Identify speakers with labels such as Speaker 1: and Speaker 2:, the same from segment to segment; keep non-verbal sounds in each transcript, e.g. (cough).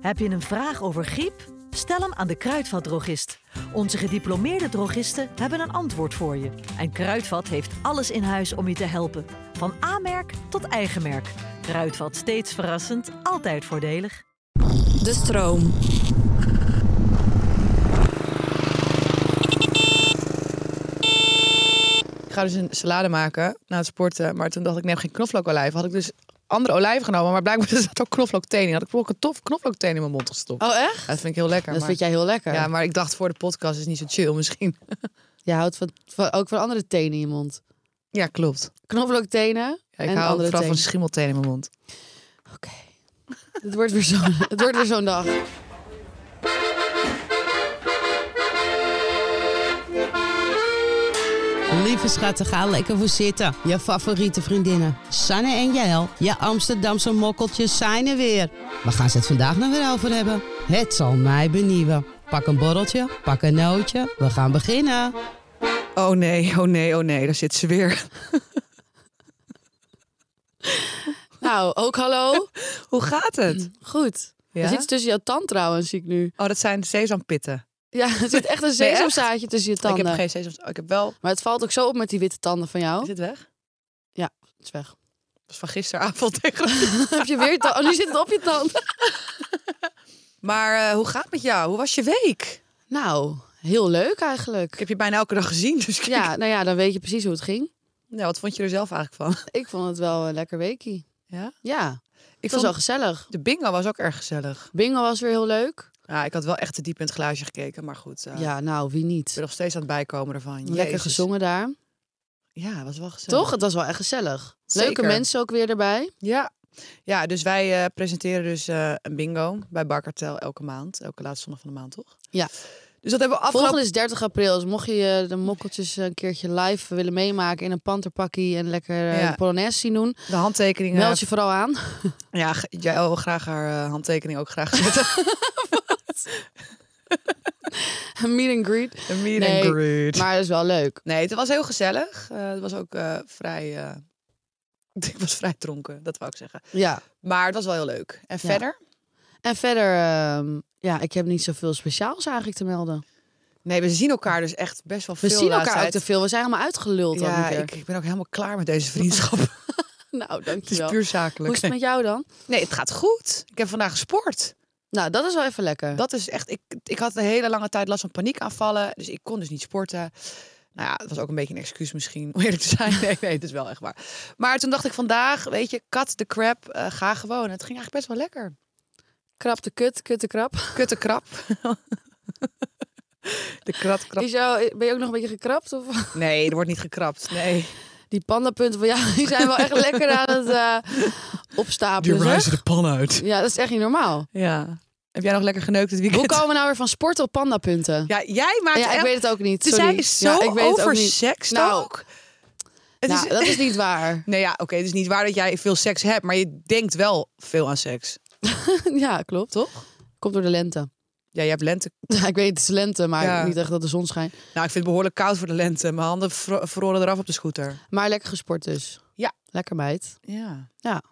Speaker 1: Heb je een vraag over griep? Stel hem aan de Kruidvatdrogist. Onze gediplomeerde drogisten hebben een antwoord voor je. En Kruidvat heeft alles in huis om je te helpen. Van A-merk tot eigen merk. Kruidvat steeds verrassend, altijd voordelig.
Speaker 2: De stroom.
Speaker 3: Ik ga dus een salade maken na het sporten. Maar toen dacht ik, neem geen knoflookolijven. Had ik dus andere olijven genomen. Maar blijkbaar (laughs) zat ook knoflookteen in. Had ik ook een tof knoflookteen in mijn mond gestopt.
Speaker 4: Oh, echt?
Speaker 3: Ja, dat vind ik heel lekker.
Speaker 4: Dat
Speaker 3: maar,
Speaker 4: vind jij heel lekker.
Speaker 3: Ja, maar ik dacht voor de podcast is niet zo chill (laughs) misschien.
Speaker 4: Je houdt van, van- ook van andere tenen in je mond.
Speaker 3: Ja, klopt.
Speaker 4: Knoflooktenen
Speaker 3: Ja, ik
Speaker 4: en
Speaker 3: hou ook
Speaker 4: andere
Speaker 3: vooral
Speaker 4: tenen.
Speaker 3: van schimmelteen in mijn mond.
Speaker 4: Oké. Het wordt weer zo'n (laughs) het wordt weer zo'n dag.
Speaker 5: Lieve schatten, ga lekker voor zitten. Je favoriete vriendinnen, Sanne en Jael, je Amsterdamse mokkeltjes zijn er weer. Waar gaan ze het vandaag nou weer over hebben? Het zal mij benieuwen. Pak een borreltje, pak een nootje, we gaan beginnen.
Speaker 3: Oh nee, oh nee, oh nee. Daar zit ze weer. (laughs)
Speaker 4: Nou, ook hallo.
Speaker 3: Hoe gaat het?
Speaker 4: Goed.
Speaker 3: Ja?
Speaker 4: Er zit iets tussen jouw tand trouwens, zie ik nu.
Speaker 3: Oh, dat zijn sesampitten.
Speaker 4: Ja, er zit echt een
Speaker 3: Nee, echt?
Speaker 4: sesamzaadje tussen je
Speaker 3: Ik
Speaker 4: tanden.
Speaker 3: heb geen sesam. oh, Ik heb wel...
Speaker 4: Maar het valt ook zo op met die witte tanden van jou.
Speaker 3: Is het weg?
Speaker 4: Het is weg.
Speaker 3: Dat is van gisteravond (laughs) tegen.
Speaker 4: (laughs) heb je weer tanden? Oh, nu zit het op je tand.
Speaker 3: Maar eh, hoe gaat het met jou? Hoe was je week?
Speaker 4: Nou, heel leuk eigenlijk.
Speaker 3: Ik heb je bijna elke dag gezien. Dus kijk. (laughs)
Speaker 4: Ja, nou ja, dan weet je precies hoe het ging.
Speaker 3: Nou, wat vond je er zelf eigenlijk van?
Speaker 4: Ik vond het wel een lekker weekie.
Speaker 3: Ja?
Speaker 4: Ja, ik
Speaker 3: Ik
Speaker 4: het was
Speaker 3: vond
Speaker 4: wel gezellig.
Speaker 3: De bingo was ook erg gezellig.
Speaker 4: Bingo was weer heel leuk.
Speaker 3: Ja, ik had wel echt te diep in het glaasje gekeken, maar goed. eh,
Speaker 4: Ja, nou, wie
Speaker 3: Ik
Speaker 4: niet?
Speaker 3: ben nog steeds aan het bijkomen ervan.
Speaker 4: Lekker
Speaker 3: Jezus.
Speaker 4: gezongen daar.
Speaker 3: Ja, het was wel gezellig.
Speaker 4: Toch? Het was wel echt gezellig.
Speaker 3: Zeker.
Speaker 4: Leuke mensen ook weer erbij.
Speaker 3: Ja. Ja, dus wij eh, presenteren dus eh, een bingo bij Barkartel elke maand. Elke laatste zondag van de maand, toch?
Speaker 4: Ja.
Speaker 3: Dus dat hebben we afgelopen...
Speaker 4: Volgende is 30 april. Dus mocht je eh, de mokkeltjes een keertje live willen meemaken in een panterpakkie en lekker eh,
Speaker 3: Ja.
Speaker 4: de Polonaise zien doen,
Speaker 3: De handtekeningen...
Speaker 4: meld je vooral aan.
Speaker 3: Ja, g- jij wil graag haar eh, handtekening ook graag (laughs) zetten.
Speaker 4: Meet and greet.
Speaker 3: Een meet
Speaker 4: Nee,
Speaker 3: and greet.
Speaker 4: Maar dat is wel leuk.
Speaker 3: Nee, het was heel gezellig. Eh, het was ook eh, vrij... eh, (laughs) ik was vrij dronken, dat wou ik zeggen.
Speaker 4: Ja.
Speaker 3: Maar het was wel heel leuk. En
Speaker 4: Ja.
Speaker 3: verder?
Speaker 4: En verder, ehm, ja, ik heb niet zoveel speciaals eigenlijk te melden.
Speaker 3: Nee, we zien elkaar dus echt best wel
Speaker 4: We
Speaker 3: veel
Speaker 4: zien
Speaker 3: de laatste
Speaker 4: elkaar ook
Speaker 3: tijd.
Speaker 4: te veel. We zijn helemaal uitgeluld. al
Speaker 3: Ja,
Speaker 4: een keer.
Speaker 3: ik, ik ben ook helemaal klaar met deze vriendschap.
Speaker 4: (laughs) Nou,
Speaker 3: het is
Speaker 4: dankjewel.
Speaker 3: puur
Speaker 4: Hoe is
Speaker 3: zakelijk.
Speaker 4: het met jou dan?
Speaker 3: Nee, het gaat goed. Ik heb vandaag gesport.
Speaker 4: Nou, dat is wel even lekker.
Speaker 3: Dat is echt. Ik, ik had een hele lange tijd last van paniekaanvallen. Dus ik kon dus niet sporten. Nou ja, het was ook een beetje een excuus misschien, om eerlijk te zijn. (laughs) Nee, nee, het is wel echt waar. Maar toen dacht ik vandaag, weet je, cut the crap, eh, ga gewoon. Het ging eigenlijk best wel lekker.
Speaker 4: Krap de kut, kut de krap.
Speaker 3: Kutte krap. (laughs) De krat, krap.
Speaker 4: Is jou, ben je ook nog een beetje gekrapt? (laughs) Of?
Speaker 3: Nee, er wordt niet gekrapt. Nee.
Speaker 4: Die pandapunten van jou die zijn wel (laughs) echt lekker aan het eh, opstapelen. zeg.
Speaker 3: de pan uit.
Speaker 4: Ja, dat is echt niet (laughs) normaal.
Speaker 3: Ja. Heb jij nog lekker geneukt dit
Speaker 4: Hoe
Speaker 3: weekend?
Speaker 4: komen we nou weer van sport op pandapunten?
Speaker 3: Ja, jij maakt
Speaker 4: Ja, ik
Speaker 3: echt-
Speaker 4: weet het ook niet.
Speaker 3: Dus
Speaker 4: Sorry.
Speaker 3: Zij is
Speaker 4: Ja,
Speaker 3: zo
Speaker 4: ik weet het ook
Speaker 3: over
Speaker 4: niet.
Speaker 3: seks
Speaker 4: Nou,
Speaker 3: ook. Het
Speaker 4: Nou,
Speaker 3: is-
Speaker 4: dat is niet (laughs) waar.
Speaker 3: Nee, ja, oké. het is niet waar dat jij veel seks hebt, maar je denkt wel veel aan seks.
Speaker 4: ja, klopt.
Speaker 3: Toch?
Speaker 4: Komt door de lente. (laughs)
Speaker 3: Ja, je hebt lente.
Speaker 4: Ja, ik weet het is lente, maar
Speaker 3: Ja.
Speaker 4: niet echt dat de zon schijnt.
Speaker 3: Nou, ik vind het behoorlijk koud voor de lente. Mijn handen vro- vroren eraf op de scooter.
Speaker 4: Maar lekker gesport dus.
Speaker 3: Ja.
Speaker 4: Lekker meid.
Speaker 3: Ja.
Speaker 4: Ja.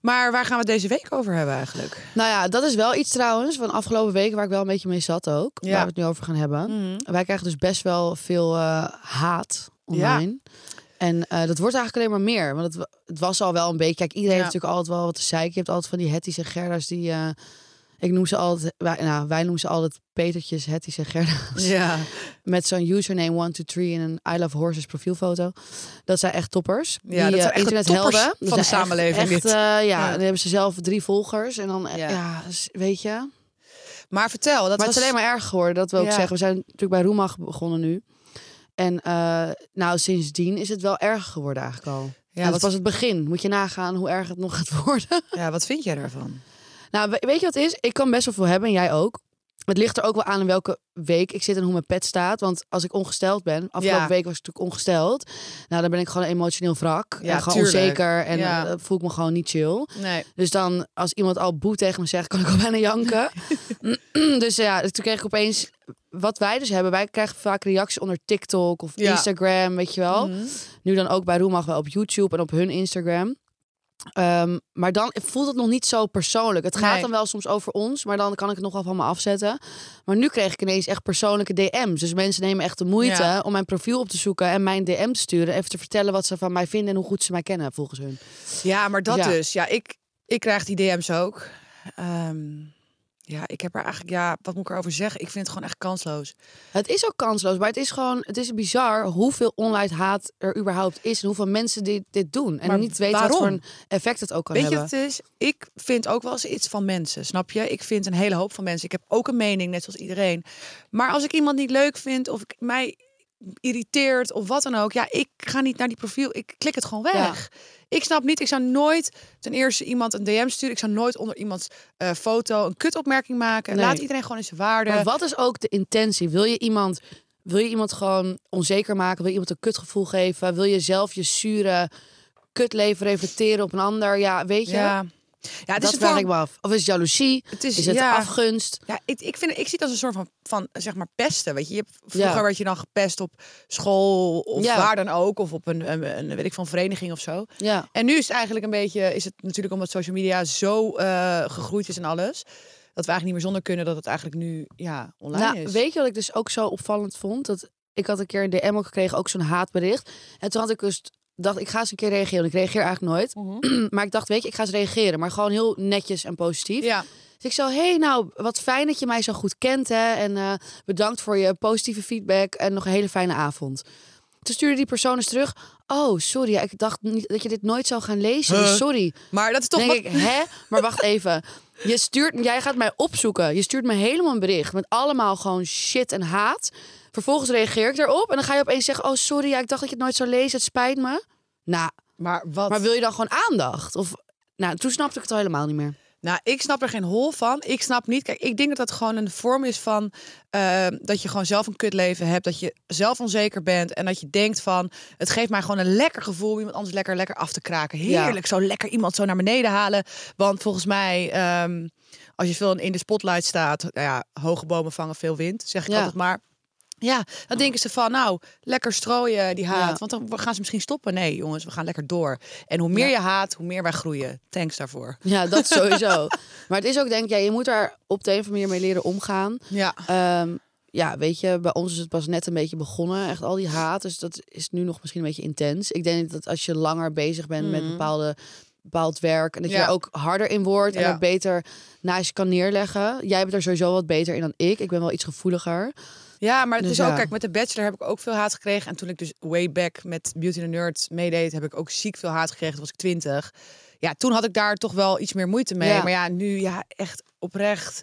Speaker 3: Maar waar gaan we het deze week over hebben eigenlijk?
Speaker 4: Nou ja, dat is wel iets trouwens van afgelopen weken waar ik wel een beetje mee zat ook.
Speaker 3: Ja. Mm.
Speaker 4: Waar we het nu over gaan hebben. Wij krijgen dus best wel veel eh, haat online. En eh, dat wordt eigenlijk alleen maar meer. Want het, wa- het was al wel een beetje... Kijk, iedereen
Speaker 3: Ja.
Speaker 4: heeft natuurlijk altijd wel wat te zeiken. Je hebt altijd van die Hetties en Gerda's die... eh, ik noem ze altijd... Wij, nou, wij noemen ze altijd Petertjes, Hetties en Gerda's.
Speaker 3: Ja.
Speaker 4: Met zo'n username 123 en een I Love Horses profielfoto. Dat zijn echt toppers. eh,
Speaker 3: Ja, dat zijn echt de
Speaker 4: internethelden.
Speaker 3: toppers
Speaker 4: Dat
Speaker 3: van de
Speaker 4: zijn echt-
Speaker 3: samenleving,
Speaker 4: Echt,
Speaker 3: dit.
Speaker 4: eh, ja,
Speaker 3: Ja.
Speaker 4: dan hebben ze zelf drie volgers. En dan, eh,
Speaker 3: Ja.
Speaker 4: ja, s- weet je...
Speaker 3: Maar vertel, dat
Speaker 4: Maar
Speaker 3: was...
Speaker 4: het is alleen maar erg geworden, dat wil ik
Speaker 3: Ja.
Speaker 4: zeggen. We zijn natuurlijk bij Roemag begonnen nu. En eh, nou, sindsdien is het wel erger geworden eigenlijk al. Ja,
Speaker 3: Ja, wat-
Speaker 4: dat was het begin. Moet je nagaan hoe erg het nog gaat (laughs) worden.
Speaker 3: ja, wat vind jij daarvan?
Speaker 4: nou, we- weet je wat het is? Ik kan best wel veel hebben en jij ook. Het ligt er ook wel aan in welke week ik zit en hoe mijn pet staat. Want als ik ongesteld ben, afgelopen
Speaker 3: Ja.
Speaker 4: week was ik natuurlijk ongesteld. Nou, dan ben ik gewoon een emotioneel wrak.
Speaker 3: Ja,
Speaker 4: en gewoon
Speaker 3: tuurlijk.
Speaker 4: onzeker. En
Speaker 3: Ja.
Speaker 4: eh, voel ik me gewoon niet chill.
Speaker 3: Nee.
Speaker 4: Dus dan, als iemand al boe tegen me zegt, kan ik al (laughs) bijna
Speaker 3: (laughs)
Speaker 4: janken. dus ja, toen kreeg ik opeens... Wat wij dus hebben, wij krijgen vaak reacties onder TikTok of
Speaker 3: Ja.
Speaker 4: Oh.
Speaker 3: Mhm.
Speaker 4: Instagram, weet je wel. Nu dan ook bij Roemag wel op YouTube en op hun Instagram. Ehm, maar dan voelt het nog niet zo persoonlijk. Het gaat
Speaker 3: Nee.
Speaker 4: dan wel soms over ons, maar dan kan ik het nogal van me afzetten. Maar nu kreeg ik ineens echt persoonlijke DM's. Dus mensen nemen echt de moeite
Speaker 3: Ja.
Speaker 4: om mijn profiel op te zoeken en mijn DM te sturen. Even te vertellen wat ze van mij vinden en hoe goed ze mij kennen, volgens hun.
Speaker 3: Ja, maar dat
Speaker 4: Ja.
Speaker 3: dus. Ja, ik, ik krijg die DM's ook. Ehm, ja, ik heb er eigenlijk... Ja, wat moet ik erover zeggen? Ik vind het gewoon echt kansloos.
Speaker 4: Het is ook kansloos, maar het is gewoon, het is bizar hoeveel online haat er überhaupt is en hoeveel mensen dit, dit doen. En
Speaker 3: Maar
Speaker 4: niet weten wat
Speaker 3: waarom?
Speaker 4: voor een effect het ook kan
Speaker 3: Weet je
Speaker 4: hebben.
Speaker 3: wat het is? Ik vind ook wel eens iets van mensen, snap je? Ik vind een hele hoop van mensen. Ik heb ook een mening, net zoals iedereen. Maar als ik iemand niet leuk vind of ik mij irriteert of wat dan ook, ja, ik ga niet naar die profiel. Ik klik het gewoon weg. Ik snap niet. Ik zou nooit ten eerste iemand een DM sturen. Ik zou nooit onder iemands eh, foto een kutopmerking maken.
Speaker 4: Nee.
Speaker 3: Laat iedereen gewoon in zijn waarde.
Speaker 4: Maar wat is ook de intentie? Wil je iemand, wil je iemand gewoon onzeker maken? Wil je iemand een kutgevoel geven? Wil je zelf je zure kutleven reflecteren op een ander? Ja, weet je?
Speaker 3: ja. ja, het
Speaker 4: dat
Speaker 3: is een
Speaker 4: vraag
Speaker 3: vorm-
Speaker 4: ik me af. Of is het jaloezie?
Speaker 3: Het is-
Speaker 4: Is het
Speaker 3: ja.
Speaker 4: afgunst?
Speaker 3: Ja, ik, ik, vind, ik zie het als een soort van, van zeg maar pesten. Weet je, je hebt, vroeger
Speaker 4: Ja.
Speaker 3: werd je dan gepest op school of
Speaker 4: Ja.
Speaker 3: waar dan ook, of op een, een, een weet ik van vereniging of zo.
Speaker 4: Ja.
Speaker 3: En nu is het eigenlijk een beetje, is het natuurlijk omdat social media zo eh, gegroeid is en alles, dat we eigenlijk niet meer zonder kunnen dat het eigenlijk nu ja online
Speaker 4: Nou,
Speaker 3: is.
Speaker 4: weet je wat ik dus ook zo opvallend vond? Dat ik had een keer een DM ook gekregen, ook zo'n haatbericht. En toen had ik dus dacht ik ga eens een keer reageren. Want ik reageer eigenlijk nooit.
Speaker 3: Mhm.
Speaker 4: (clears throat) Maar ik dacht, weet je, ik ga eens reageren. Maar gewoon heel netjes en positief.
Speaker 3: Ja,
Speaker 4: Dus ik zo, hey, nou, wat fijn dat je mij zo goed kent, hè. En eh, bedankt voor je positieve feedback en nog een hele fijne avond. Toen stuurde die persoon eens terug. Oh, sorry, ja, ik dacht niet dat je dit nooit zou gaan lezen. dus
Speaker 3: Huh?
Speaker 4: Sorry.
Speaker 3: maar dat is toch
Speaker 4: denk
Speaker 3: wat-
Speaker 4: ik, hè? Maar wacht even. Je stuurt, jij gaat mij opzoeken. Je stuurt me helemaal een bericht met allemaal gewoon shit en haat. Vervolgens reageer ik daarop en dan ga je opeens zeggen... Oh, sorry, ja, ik dacht dat je het nooit zou lezen. Het spijt me. Nou,
Speaker 3: Maar wat?
Speaker 4: maar wil je dan gewoon aandacht? Of, nou, toen snapte ik het al helemaal niet meer.
Speaker 3: Nou, ik snap er geen hol van. Ik snap niet. Kijk, ik denk dat dat gewoon een vorm is van eh, dat je gewoon zelf een kutleven hebt, dat je zelf onzeker bent en dat je denkt van, het geeft mij gewoon een lekker gevoel om iemand anders lekker lekker af te kraken.
Speaker 4: Ja.
Speaker 3: Heerlijk, zo lekker iemand zo naar beneden halen. Want volgens mij, ehm, als je veel in de spotlight staat, nou ja, hoge bomen vangen veel wind, zeg ik
Speaker 4: Ja.
Speaker 3: altijd maar. Ja, dan denken ze van, nou, lekker strooien die haat.
Speaker 4: Ja.
Speaker 3: Want dan gaan ze misschien stoppen. Nee, jongens, we gaan lekker door. En hoe meer je haat, hoe meer wij groeien. Thanks daarvoor.
Speaker 4: Ja, dat sowieso. (laughs) maar het is ook denk ik, ja, je moet daar op de een of andere manier mee leren omgaan.
Speaker 3: Ja.
Speaker 4: Ehm, ja, weet je, bij ons is het pas net een beetje begonnen. Echt al die haat. Dus dat is nu nog misschien een beetje intens. Ik denk dat als je langer bezig bent met bepaalde, bepaald werk... en dat je
Speaker 3: Mhm. Ja.
Speaker 4: er ook harder in wordt en
Speaker 3: Ja.
Speaker 4: dat beter naast je kan neerleggen. Jij bent er sowieso wat beter in dan ik. Ik ben wel iets gevoeliger.
Speaker 3: Ja, maar het
Speaker 4: Dus
Speaker 3: is
Speaker 4: ja.
Speaker 3: ook, kijk, met de Bachelor heb ik ook veel haat gekregen. En toen ik dus way back met Beauty and the Nerd meedeed, heb ik ook ziek veel haat gekregen. Toen was ik twintig. Ja, toen had ik daar toch wel iets meer moeite mee.
Speaker 4: Ja.
Speaker 3: Maar ja, nu ja, echt oprecht.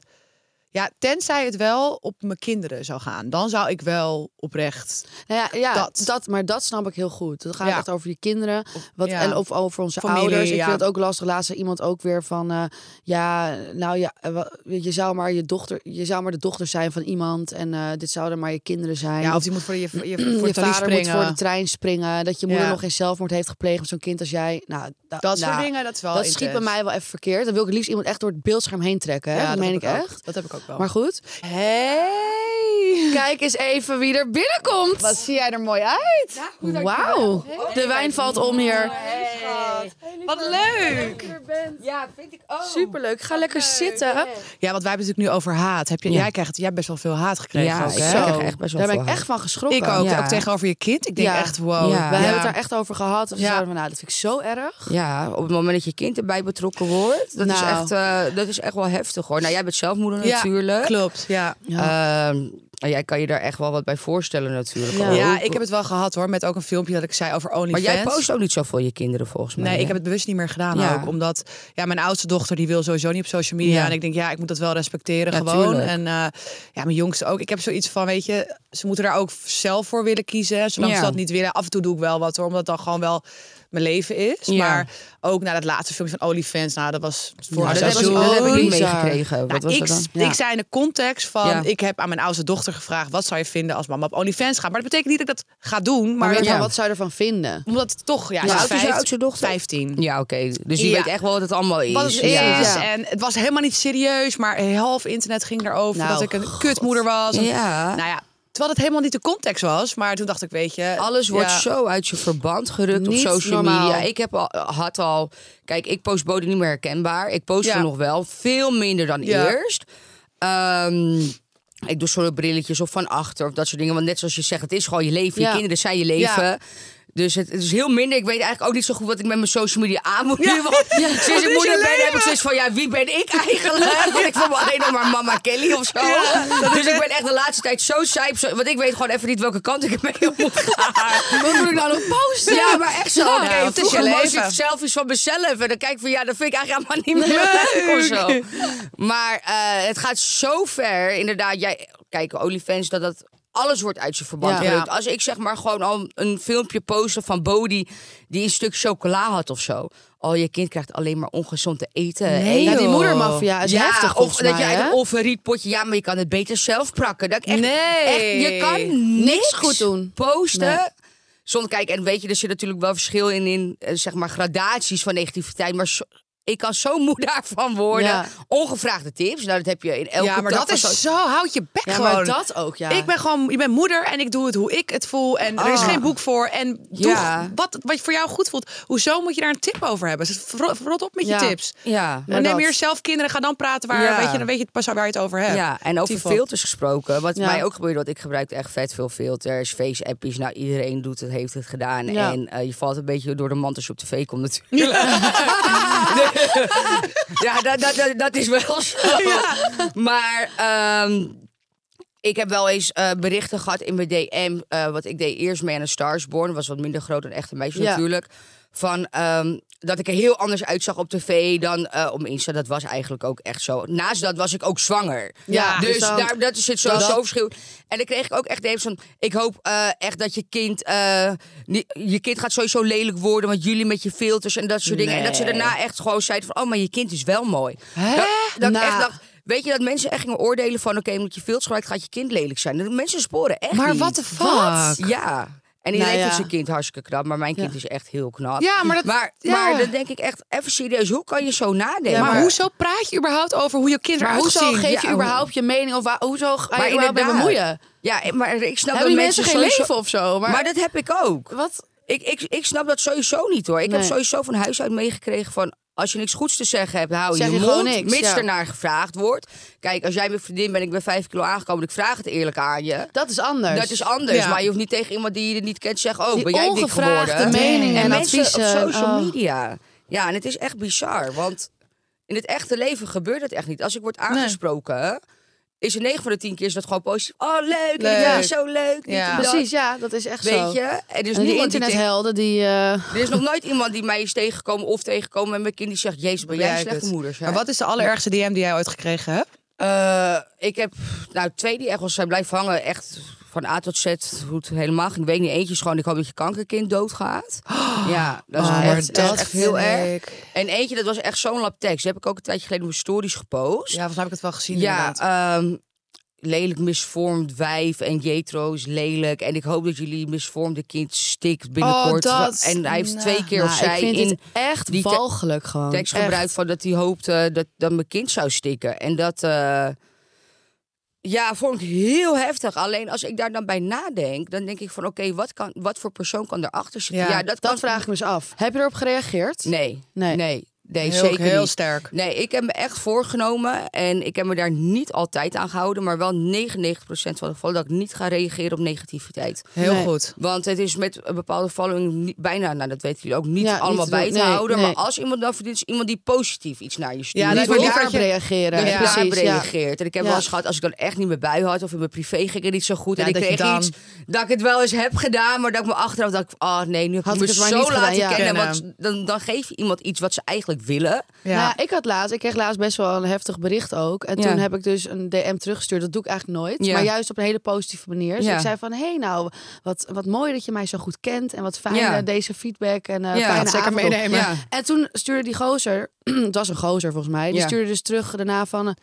Speaker 3: Ja, tenzij het wel op mijn kinderen zou gaan. Dan zou ik wel oprecht.
Speaker 4: Nou ja, ja dat.
Speaker 3: Dat.
Speaker 4: maar dat snap ik heel goed. Dan gaat
Speaker 3: Ja.
Speaker 4: het echt over die kinderen wat,
Speaker 3: ja.
Speaker 4: en of over onze
Speaker 3: Familie,
Speaker 4: ouders. Ik
Speaker 3: ja.
Speaker 4: vind het ook lastig. Laatst zei iemand ook weer van, eh, ja, nou ja, eh, wa- je zou maar je dochter, je zou maar de dochter zijn van iemand en eh, dit zouden maar je kinderen zijn.
Speaker 3: Ja, of die moet voor je, voor je, voor
Speaker 4: (clears throat) je vader
Speaker 3: het tarief
Speaker 4: moet
Speaker 3: springen.
Speaker 4: voor de trein springen, dat je moeder
Speaker 3: Ja.
Speaker 4: nog geen zelfmoord heeft gepleegd met zo'n kind als jij. Nou, da-
Speaker 3: dat
Speaker 4: nou,
Speaker 3: soort dingen, dat is wel
Speaker 4: Dat schiet bij
Speaker 3: intens.
Speaker 4: mij wel even verkeerd. Dan wil ik het liefst iemand echt door het beeldscherm heen trekken. Hè?
Speaker 3: Ja,
Speaker 4: dat, meen
Speaker 3: heb
Speaker 4: ik
Speaker 3: ook.
Speaker 4: echt.
Speaker 3: Dat heb ik ook wel.
Speaker 4: Maar goed,
Speaker 3: hey!
Speaker 4: kijk eens even wie er binnenkomt.
Speaker 3: Wat zie jij er mooi uit?
Speaker 4: Wauw, de wijn valt om hier.
Speaker 3: Wat leuk!
Speaker 4: Superleuk. Ga lekker zitten.
Speaker 3: Ja, want wij hebben het natuurlijk nu over haat. Heb je, Jij krijgt jij hebt best wel veel haat gekregen. ook, hè?
Speaker 4: zo.
Speaker 5: krijg echt best wel
Speaker 4: Daar ben
Speaker 5: veel
Speaker 4: ik
Speaker 5: haat.
Speaker 4: echt van geschrokken.
Speaker 3: Ik ook.
Speaker 5: Ja.
Speaker 3: Ook tegenover je kind. Ik denk
Speaker 4: Ja.
Speaker 3: echt, wow.
Speaker 5: Ja.
Speaker 4: We
Speaker 5: Ja.
Speaker 4: hebben het daar echt over gehad. Dus we
Speaker 3: Ja.
Speaker 4: zeiden van, nou, dat vind ik zo erg.
Speaker 5: Ja, op het moment dat je kind erbij betrokken wordt, dat,
Speaker 4: Nou.
Speaker 5: is, echt, eh, dat is echt wel heftig hoor. Nou, jij bent zelf moeder
Speaker 3: Ja,
Speaker 5: natuurlijk.
Speaker 3: Klopt, ja.
Speaker 5: Ehm, en jij kan je daar echt wel wat bij voorstellen natuurlijk.
Speaker 4: Ja.
Speaker 5: ook.
Speaker 3: Ja, ik heb het wel gehad hoor. Met ook een filmpje dat ik zei over
Speaker 5: Maar
Speaker 3: OnlyFans.
Speaker 5: jij post ook niet zoveel je kinderen volgens mij.
Speaker 3: Nee, ik
Speaker 5: hè?
Speaker 3: heb het bewust niet meer gedaan
Speaker 5: Ja.
Speaker 3: ook. Omdat ja, mijn oudste dochter die wil sowieso niet op social media.
Speaker 5: Ja.
Speaker 3: En ik denk, ja, ik moet dat wel respecteren
Speaker 5: Ja,
Speaker 3: gewoon.
Speaker 5: tuurlijk.
Speaker 3: En eh, ja, mijn jongste ook. Ik heb zoiets van, weet je, ze moeten daar ook zelf voor willen kiezen. Zolang
Speaker 5: Ja.
Speaker 3: ze dat niet willen. Af en toe doe ik wel wat hoor, omdat dat gewoon wel mijn leven is.
Speaker 5: Ja.
Speaker 3: Maar ook na dat laatste filmpje van OnlyFans. Nou, dat was voor
Speaker 5: Nou,
Speaker 3: een
Speaker 5: dat, heb ik,
Speaker 3: seizoen.
Speaker 5: dat heb ik niet
Speaker 4: bizar.
Speaker 5: meegekregen. Wat
Speaker 3: Nou,
Speaker 5: was
Speaker 3: ik,
Speaker 5: dat dan?
Speaker 4: Ja.
Speaker 3: ik zei in de context van,
Speaker 5: Ja.
Speaker 3: ik heb aan mijn oudste dochter gevraagd, wat zou je vinden als mama op OnlyFans gaat? Maar dat betekent niet dat ik dat ga doen, maar
Speaker 4: Maar
Speaker 5: Ja.
Speaker 4: van, wat zou je ervan vinden?
Speaker 3: omdat het toch, ja,
Speaker 5: Hoe
Speaker 3: ze
Speaker 5: oud is je
Speaker 3: vijf-
Speaker 5: oudste dochter?
Speaker 3: 15.
Speaker 5: Ja, oké. Dus je
Speaker 3: Ja.
Speaker 5: weet echt wel wat het allemaal is.
Speaker 3: Wat het is.
Speaker 5: Ja.
Speaker 4: Ja.
Speaker 3: En het was helemaal niet serieus, maar half internet ging erover
Speaker 4: Nou,
Speaker 3: dat ik een
Speaker 4: god.
Speaker 3: kutmoeder was. En-
Speaker 5: Ja.
Speaker 3: Nou ja, Terwijl het helemaal niet de context was. Maar toen dacht ik, weet je...
Speaker 6: Alles wordt
Speaker 3: ja.
Speaker 6: zo uit je verband gerukt
Speaker 4: Niet
Speaker 6: op social
Speaker 4: normaal.
Speaker 6: media. Ik heb al, had al... Kijk, ik post boden niet meer herkenbaar. Ik post
Speaker 3: Ja.
Speaker 6: er nog wel. Veel minder dan
Speaker 3: Ja.
Speaker 6: eerst. Ehm, ik doe solo brilletjes of van achter of dat soort dingen. Want net zoals je zegt, het is gewoon je leven.
Speaker 4: Ja.
Speaker 6: Je kinderen zijn je leven. Dus het, het is heel minder. Ik weet eigenlijk ook niet zo goed wat ik met mijn social media aan moet doen. Want
Speaker 3: Wat is
Speaker 6: Sinds ik
Speaker 3: je
Speaker 6: moeder ben, heb
Speaker 3: leven?
Speaker 6: ik zoiets van... Ja, wie ben ik eigenlijk? Want ik voel me alleen nog maar mama Kelly of zo. dus ik ben echt de laatste tijd zo saai. op zo- Want ik weet gewoon even niet welke kant ik ermee op moet gaan.
Speaker 4: Wat moet ik nou nog posten?
Speaker 6: Ja, maar echt zo.
Speaker 3: Ja,
Speaker 6: Oké,
Speaker 3: het is
Speaker 6: vroeger
Speaker 3: je
Speaker 6: post
Speaker 3: leven.
Speaker 6: ik selfies van mezelf. En dan kijk ik van, ja, dat vind ik eigenlijk helemaal niet meer leuk of zo. Maar eh, het gaat zo ver. Inderdaad, jij, kijk, OnlyFans, dat dat... Alles wordt uit zijn verband
Speaker 4: Ja.
Speaker 6: gerukt. Als ik zeg maar gewoon al een filmpje posten van Bodie... die een stuk chocola had of zo. Al je kind krijgt alleen maar ongezond te eten.
Speaker 4: Nee,
Speaker 6: Hey,
Speaker 4: ja, die
Speaker 6: joh.
Speaker 4: moedermafia is heftig
Speaker 6: Of
Speaker 4: volgens
Speaker 6: dat
Speaker 4: mij,
Speaker 6: je uit
Speaker 4: hè?
Speaker 6: een overrietpotje... Ja, maar je kan het beter zelf prakken. Dat ik echt,
Speaker 3: Nee.
Speaker 6: echt, je kan niks
Speaker 4: goed doen.
Speaker 6: posten. Zonder kijk, en weet je, er zit natuurlijk wel verschil in, in eh, zeg maar gradaties van negativiteit. Maar zo- ik kan zo moe (laughs) daarvan worden.
Speaker 4: Ja.
Speaker 6: Ongevraagde tips. Nou, dat heb je in elke
Speaker 3: ja, maar
Speaker 6: tak
Speaker 3: dat
Speaker 6: van
Speaker 3: is
Speaker 6: zo-
Speaker 3: zo. Houd je bek
Speaker 4: Ja,
Speaker 3: gewoon.
Speaker 4: maar dat ook, ja.
Speaker 3: Ik ben gewoon, je bent moeder en ik doe het hoe ik het voel. En er is geen boek voor. En doe
Speaker 6: Ja.
Speaker 3: wat, wat voor jou goed voelt. Hoezo moet je daar een tip over hebben? Dus vro- Rot op met
Speaker 4: Ja.
Speaker 3: je tips.
Speaker 6: Ja.
Speaker 3: En neem
Speaker 4: dat-
Speaker 3: eerst zelf kinderen, ga dan praten waar,
Speaker 6: Ja.
Speaker 3: weet je, dan weet je pas waar je het over hebt.
Speaker 6: Ja, en over
Speaker 3: Tyfo.
Speaker 6: filters gesproken. Wat
Speaker 4: Ja.
Speaker 6: mij ook gebeurde, want ik gebruikte echt vet veel filters, face-appies. Nou, iedereen doet het, heeft het gedaan.
Speaker 4: Ja.
Speaker 6: En eh, je valt een beetje door de mand als je op tv komt natuurlijk. (laughs) ja, dat, dat, dat, dat is wel zo. Maar ehm, ik heb wel eens eh, berichten gehad in mijn DM. eh wat ik deed eerst mee aan een Starsborn. Was wat minder groot dan echte meisjes
Speaker 4: Ja.
Speaker 6: natuurlijk. Van ehm, dat ik er heel anders uitzag op tv dan eh, op Insta. Dat was eigenlijk ook echt zo. Naast dat was ik ook zwanger.
Speaker 4: Ja,
Speaker 6: dus
Speaker 4: dus dan-
Speaker 6: daar, dat is het zo, zo verschil. En dan kreeg ik ook echt DM's van... Ik hoop eh, echt dat je kind... eh, niet- je kind gaat sowieso lelijk worden... want jullie met je filters en dat soort dingen. En dat ze daarna echt gewoon zeiden van... oh, maar je kind is wel mooi. Dat, dat ik echt
Speaker 4: Nou.
Speaker 6: dacht... Weet je dat mensen echt gingen oordelen van... oké, omdat je filters gebruikt gaat je kind lelijk zijn. Dat mensen sporen echt
Speaker 3: Maar
Speaker 6: niet.
Speaker 3: wat de fuck?
Speaker 6: Ja. En iedereen
Speaker 4: Nou ja.
Speaker 6: vindt zijn kind hartstikke knap, maar mijn kind is echt heel knap.
Speaker 3: Ja, maar dat-
Speaker 6: maar,
Speaker 3: ja.
Speaker 6: maar dan denk ik echt, even serieus, hoe kan je zo nadenken?
Speaker 3: maar, hoezo praat je überhaupt over hoe je kinderen
Speaker 4: Maar
Speaker 3: eruit
Speaker 4: hoezo
Speaker 3: zien?
Speaker 4: geef je
Speaker 6: Ja,
Speaker 4: überhaupt je mening? Of waar- hoezo ga je
Speaker 6: Maar
Speaker 4: überhaupt mee
Speaker 6: inderdaad.
Speaker 4: bemoeien?
Speaker 6: Ja, maar ik snap
Speaker 4: Hebben die
Speaker 6: dat
Speaker 4: mensen geen
Speaker 6: sowieso-
Speaker 4: leven of zo? Maar,
Speaker 6: Maar, dat heb ik ook.
Speaker 4: wat?
Speaker 6: Ik, ik, ik snap dat sowieso niet hoor. Ik
Speaker 4: Nee.
Speaker 6: heb sowieso van huis uit meegekregen van... als je niks goeds te zeggen hebt, hou
Speaker 4: Zeg
Speaker 6: je,
Speaker 4: je
Speaker 6: mond.
Speaker 4: gewoon niks,
Speaker 6: mits
Speaker 4: ja.
Speaker 6: ernaar gevraagd wordt. Kijk, als jij mijn vriendin bent, ik ben vijf kilo aangekomen... ik vraag het eerlijk aan je.
Speaker 4: Dat is anders.
Speaker 6: Dat is anders.
Speaker 3: Ja.
Speaker 6: Maar je hoeft niet tegen iemand die je niet kent te zeggen... oh,
Speaker 4: Die
Speaker 6: ben jij dik
Speaker 4: ongevraagde
Speaker 6: geworden?
Speaker 4: meningen en
Speaker 6: mensen
Speaker 4: adviezen,
Speaker 6: op social
Speaker 4: oh.
Speaker 6: media. Ja, en het is echt bizar. Want in het echte leven gebeurt het echt niet. Als ik word aangesproken... Is er 9 van de 10 keer is dat gewoon positief. Oh, leuk.
Speaker 3: Leuk.
Speaker 6: Ja, zo leuk. dit
Speaker 3: Ja.
Speaker 6: en dat.
Speaker 4: Precies, ja, dat is echt zo.
Speaker 6: Weet je? En dus
Speaker 4: en die
Speaker 6: niemand tegen-
Speaker 4: internethelden die... eh,
Speaker 6: er is nog nooit iemand die mij is tegengekomen of tegengekomen met mijn kind die zegt: Jezus, ben jij een
Speaker 3: Jij
Speaker 6: slechte
Speaker 3: het.
Speaker 6: moeder? zeg.
Speaker 3: Maar wat is de allerergste DM die jij ooit gekregen hebt?
Speaker 6: Eh, ik heb nou twee die echt wel zijn blijven hangen, echt van A tot Z, hoe het helemaal ging. Ik weet niet, eentje is gewoon: ik hoop dat je kankerkind doodgaat. Ah, ja, dat is
Speaker 4: Oh, maar
Speaker 6: echt, dat is echt heel erg. En eentje, dat was echt zo'n lap tekst. Die heb ik ook een tijdje geleden op mijn stories gepost.
Speaker 3: Ja, volgens mij heb ik het wel gezien
Speaker 6: Ja,
Speaker 3: inderdaad.
Speaker 6: ehm, lelijk misvormd wijf en Jetro is lelijk. En ik hoop dat jullie misvormde kind stikt binnenkort.
Speaker 3: Oh, dat-
Speaker 6: en hij heeft twee keer
Speaker 4: nou,
Speaker 6: of zij
Speaker 4: ik vind
Speaker 6: in
Speaker 4: dit echt
Speaker 6: die te-
Speaker 4: walgelijk gewoon.
Speaker 6: tekst
Speaker 4: Echt.
Speaker 6: gebruikt van dat hij hoopte dat, dat mijn kind zou stikken. En dat eh, ja, vond ik heel heftig. Alleen als ik daar dan bij nadenk, dan denk ik van oké, wat wat, kan- wat voor persoon kan erachter zitten?
Speaker 3: Ja,
Speaker 6: Ja,
Speaker 4: Dat,
Speaker 6: dat, kan...
Speaker 4: vraag ik me eens af. Heb je erop gereageerd?
Speaker 6: Nee,
Speaker 4: Nee.
Speaker 6: nee, nee,
Speaker 3: heel,
Speaker 6: zeker
Speaker 3: heel
Speaker 6: niet.
Speaker 3: sterk.
Speaker 6: Nee, ik heb me echt voorgenomen en ik heb me daar niet altijd aan gehouden, maar wel 99% van de gevallen dat ik niet ga reageren op negativiteit.
Speaker 3: Heel
Speaker 4: Nee.
Speaker 3: goed.
Speaker 6: Want het is met een bepaalde following niet- bijna, nou dat weten jullie ook, niet
Speaker 4: Ja, niet
Speaker 6: allemaal
Speaker 4: te
Speaker 6: bij
Speaker 4: doen.
Speaker 6: te
Speaker 4: Nee,
Speaker 6: houden.
Speaker 4: nee.
Speaker 6: Maar als iemand dan verdient, is iemand die positief iets naar je stuurt.
Speaker 3: Ja,
Speaker 4: Ja,
Speaker 3: dat
Speaker 4: niet
Speaker 3: is maar
Speaker 4: daarop
Speaker 3: niet waar je-
Speaker 4: reageren.
Speaker 6: dat je
Speaker 4: precies,
Speaker 6: daarop
Speaker 4: ja.
Speaker 6: reageert. En ik heb
Speaker 4: Ja.
Speaker 6: wel eens gehad, als ik dan echt niet meer bui had... of in mijn privé ging het niet zo goed...
Speaker 3: Ja,
Speaker 6: en ik
Speaker 3: dat je
Speaker 6: kreeg
Speaker 3: dan-
Speaker 6: iets dat ik het wel eens heb gedaan... maar dat ik me achteraf dacht, ah nee, nu heb
Speaker 4: Had
Speaker 6: ik
Speaker 4: ik
Speaker 6: me
Speaker 4: het
Speaker 6: zo
Speaker 4: maar niet
Speaker 6: laten
Speaker 4: gedaan, ja.
Speaker 6: kennen.
Speaker 3: Kennen.
Speaker 6: Want dan, dan geef je iemand iets wat ze eigenlijk willen.
Speaker 4: Nou
Speaker 3: Ja.
Speaker 4: Ja, ik had laatst, ik kreeg laatst best wel een heftig bericht ook. En
Speaker 6: Ja.
Speaker 4: toen heb ik dus een DM teruggestuurd. Dat doe ik eigenlijk nooit.
Speaker 6: Ja.
Speaker 4: Maar juist op een hele positieve manier. Dus
Speaker 6: Ja.
Speaker 4: ik zei van, hé hey, nou, wat, wat mooi dat je mij zo goed kent. En wat fijn
Speaker 6: Ja.
Speaker 4: eh, deze feedback. En eh
Speaker 6: Ja,
Speaker 4: fijne
Speaker 6: dat
Speaker 3: zeker
Speaker 4: avond op.
Speaker 3: meenemen.
Speaker 6: Ja.
Speaker 4: En toen stuurde die gozer, (clears throat) het was een gozer volgens mij. Die
Speaker 6: Ja.
Speaker 4: stuurde dus terug daarna van,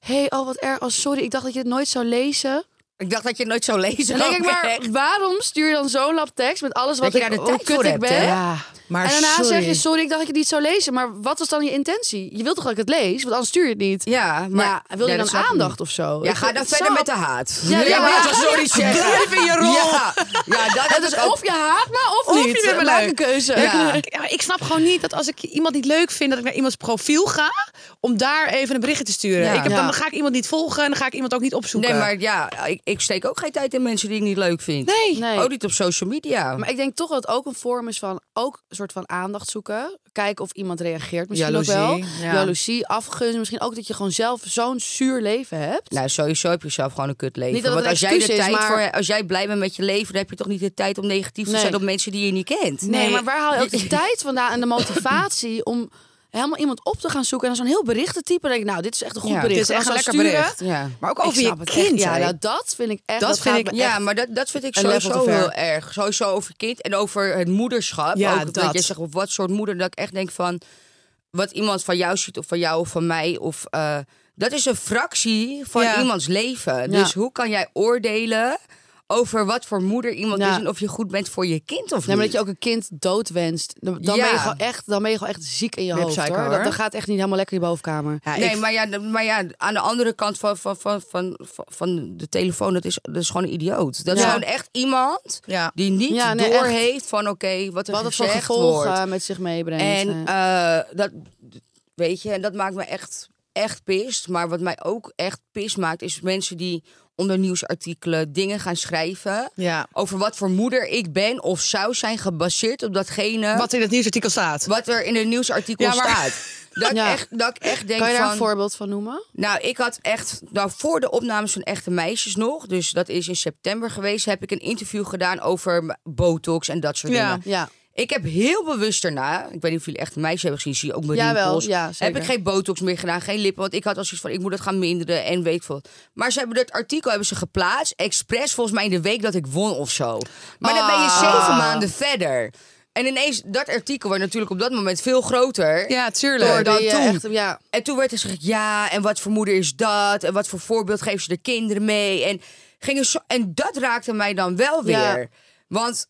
Speaker 4: hé, hey, oh wat erg. Oh sorry, ik dacht dat je het nooit zou lezen.
Speaker 6: Ik dacht dat je het nooit zou lezen.
Speaker 4: Dan denk ik
Speaker 6: ook echt.
Speaker 4: maar, waarom stuur je dan zo'n lap tekst met alles wat
Speaker 6: Dat je
Speaker 4: ik,
Speaker 6: daar de
Speaker 4: hoe
Speaker 6: tijd
Speaker 4: kut
Speaker 6: voor
Speaker 4: ik
Speaker 6: hebt,
Speaker 4: ben?
Speaker 6: hè?
Speaker 3: Ja. Maar
Speaker 4: en daarna
Speaker 3: sorry.
Speaker 4: zeg je, sorry, ik dacht dat ik het niet zou lezen. Maar wat was dan je intentie? Je wilt toch dat ik het lees? Want anders stuur je het niet.
Speaker 6: Ja, maar...
Speaker 4: Maar ja, wil je
Speaker 6: Ja, dat
Speaker 4: dan
Speaker 6: snap ik
Speaker 4: aandacht of zo?
Speaker 6: Ja,
Speaker 4: Ik
Speaker 6: ga
Speaker 4: vind
Speaker 6: dan
Speaker 4: het
Speaker 6: verder
Speaker 4: zo-
Speaker 6: met de haat.
Speaker 4: Ja, ja,
Speaker 6: maar
Speaker 4: ja. (laughs)
Speaker 6: dat is sorry zeggen.
Speaker 3: Blijf in je rol.
Speaker 6: Ja, ja dat,
Speaker 4: Het
Speaker 6: dat
Speaker 4: is
Speaker 6: is ook...
Speaker 4: of je haat me of,
Speaker 3: Of je
Speaker 4: niet.
Speaker 3: vindt me
Speaker 4: Maak
Speaker 3: leuk.
Speaker 4: een keuze.
Speaker 6: Ja.
Speaker 3: Ik, ja, ik snap gewoon niet dat als ik iemand niet leuk vind, dat ik naar iemands profiel ga om daar even een berichtje te sturen.
Speaker 6: Ja.
Speaker 3: Ik heb,
Speaker 4: Ja.
Speaker 3: dan, dan ga ik iemand niet volgen en dan ga ik iemand ook niet opzoeken.
Speaker 6: Nee, maar ja, ik, ik steek ook geen tijd in mensen die ik niet leuk vind.
Speaker 3: Nee.
Speaker 4: Nee.
Speaker 6: Ook niet op social media.
Speaker 4: Maar ik denk toch dat het ook een vorm is van ook een soort van aandacht zoeken. Kijken of iemand reageert misschien ook
Speaker 3: Jaloezie,
Speaker 4: wel.
Speaker 3: ja.
Speaker 4: Jaloezie, afgunst. Misschien ook dat je gewoon zelf zo'n zuur leven hebt.
Speaker 6: Nou, sowieso heb je zelf gewoon een kut leven.
Speaker 4: Niet dat het
Speaker 6: Want
Speaker 4: een
Speaker 6: als jij, de
Speaker 4: excuus is,
Speaker 6: tijd
Speaker 4: maar-
Speaker 6: voor, als jij blij bent met je leven, dan heb je toch niet de tijd om negatief te
Speaker 4: Nee.
Speaker 6: zijn op mensen die je niet kent.
Speaker 4: Nee, maar waar haal je ook de tijd vandaan en de motivatie om helemaal iemand op te gaan zoeken en dan zo'n heel bericht te typen? Dan denk ik, nou, dit is echt een goed
Speaker 6: Ja, het
Speaker 4: bericht.
Speaker 3: is echt
Speaker 4: En dan
Speaker 3: een
Speaker 4: gaan
Speaker 3: lekker
Speaker 4: sturen.
Speaker 3: bericht.
Speaker 6: Ja.
Speaker 3: Maar ook
Speaker 4: Ik
Speaker 3: over je
Speaker 4: snap het echt.
Speaker 3: kind.
Speaker 4: Ja,
Speaker 3: hè?
Speaker 4: nou, dat vind ik echt.
Speaker 3: Dat
Speaker 4: Dat,
Speaker 3: vind
Speaker 4: gaat
Speaker 3: ik
Speaker 4: me
Speaker 6: Ja,
Speaker 4: echt-
Speaker 6: maar dat, dat vind ik
Speaker 4: een level
Speaker 6: sowieso
Speaker 4: te ver.
Speaker 6: heel erg. Sowieso over kind en over het moederschap.
Speaker 3: Ja,
Speaker 6: ook, dat.
Speaker 3: dat.
Speaker 6: je zegt, op wat soort moeder, dat ik echt denk van... Wat iemand van jou ziet, of van jou, of van mij, of... eh, dat is een fractie van
Speaker 3: Ja.
Speaker 6: iemands leven. Dus hoe kan jij oordelen over wat voor moeder iemand
Speaker 4: Ja.
Speaker 6: is... en of je goed bent voor je kind of
Speaker 4: Nee, maar
Speaker 6: niet?
Speaker 4: dat je ook een kind dood wenst. Dan, dan
Speaker 6: Ja.
Speaker 4: ben je gewoon echt, dan ben je gewoon echt ziek in je
Speaker 3: Ben je
Speaker 4: hoofd.
Speaker 3: psycho,
Speaker 4: hoor. Dat,
Speaker 3: hoor.
Speaker 4: dat gaat echt niet helemaal lekker in je bovenkamer.
Speaker 3: Ja,
Speaker 6: nee,
Speaker 3: ik-
Speaker 6: maar, ja, d- maar ja, aan de andere kant van, van, van, van, van- van de telefoon, dat is, dat is gewoon een idioot. Dat is
Speaker 4: Ja.
Speaker 6: gewoon echt iemand
Speaker 3: Ja.
Speaker 6: die niet
Speaker 4: Ja, nee,
Speaker 6: doorheeft van oké, wat er
Speaker 4: Wat het voor
Speaker 6: gezegd
Speaker 4: gevolgen
Speaker 6: wordt.
Speaker 4: met zich meebrengt.
Speaker 6: En
Speaker 4: Ja.
Speaker 6: eh, dat, weet je, en dat maakt me echt, echt pist. Maar wat mij ook echt pist maakt, is mensen die onder nieuwsartikelen dingen gaan schrijven.
Speaker 3: Ja.
Speaker 6: Over wat voor moeder ik ben of zou zijn gebaseerd op datgene
Speaker 3: Wat
Speaker 6: wat,
Speaker 3: in het nieuwsartikel staat.
Speaker 6: er in een nieuwsartikel
Speaker 3: Ja, maar-
Speaker 6: staat. Dat,
Speaker 4: (laughs) Ja.
Speaker 6: ik echt, dat ik echt denk
Speaker 4: kan je daar
Speaker 6: van...
Speaker 4: een voorbeeld van noemen?
Speaker 6: Nou, ik had echt, nou, voor de opnames van Echte Meisjes nog, dus dat is in september geweest, heb ik een interview gedaan over m- botox en dat soort
Speaker 3: Ja.
Speaker 6: dingen.
Speaker 4: Ja.
Speaker 6: Ik heb heel bewust daarna, ik weet niet of jullie Echte Meisjes hebben gezien, zie je ook mijn
Speaker 4: Jawel,
Speaker 6: rimpels.
Speaker 4: ja,
Speaker 6: heb
Speaker 4: zeker.
Speaker 6: ik geen botox meer gedaan, geen lippen, want ik had als iets van, ik moet het gaan minderen en weet ik veel. Maar ze hebben dat artikel hebben ze geplaatst, expres volgens mij in de week dat ik won of zo. Maar dan ben je
Speaker 4: Ah.
Speaker 6: zeven maanden verder. En ineens, dat artikel werd natuurlijk op dat moment veel groter.
Speaker 3: Ja, tuurlijk.
Speaker 6: Door dan
Speaker 4: Die, eh,
Speaker 6: toen.
Speaker 4: echt- ja.
Speaker 6: En toen werd er gezegd, ja, en wat voor moeder is dat? En wat voor voorbeeld geven ze de kinderen mee? En, gingen zo, en dat raakte mij dan wel weer.
Speaker 4: Ja.
Speaker 6: Want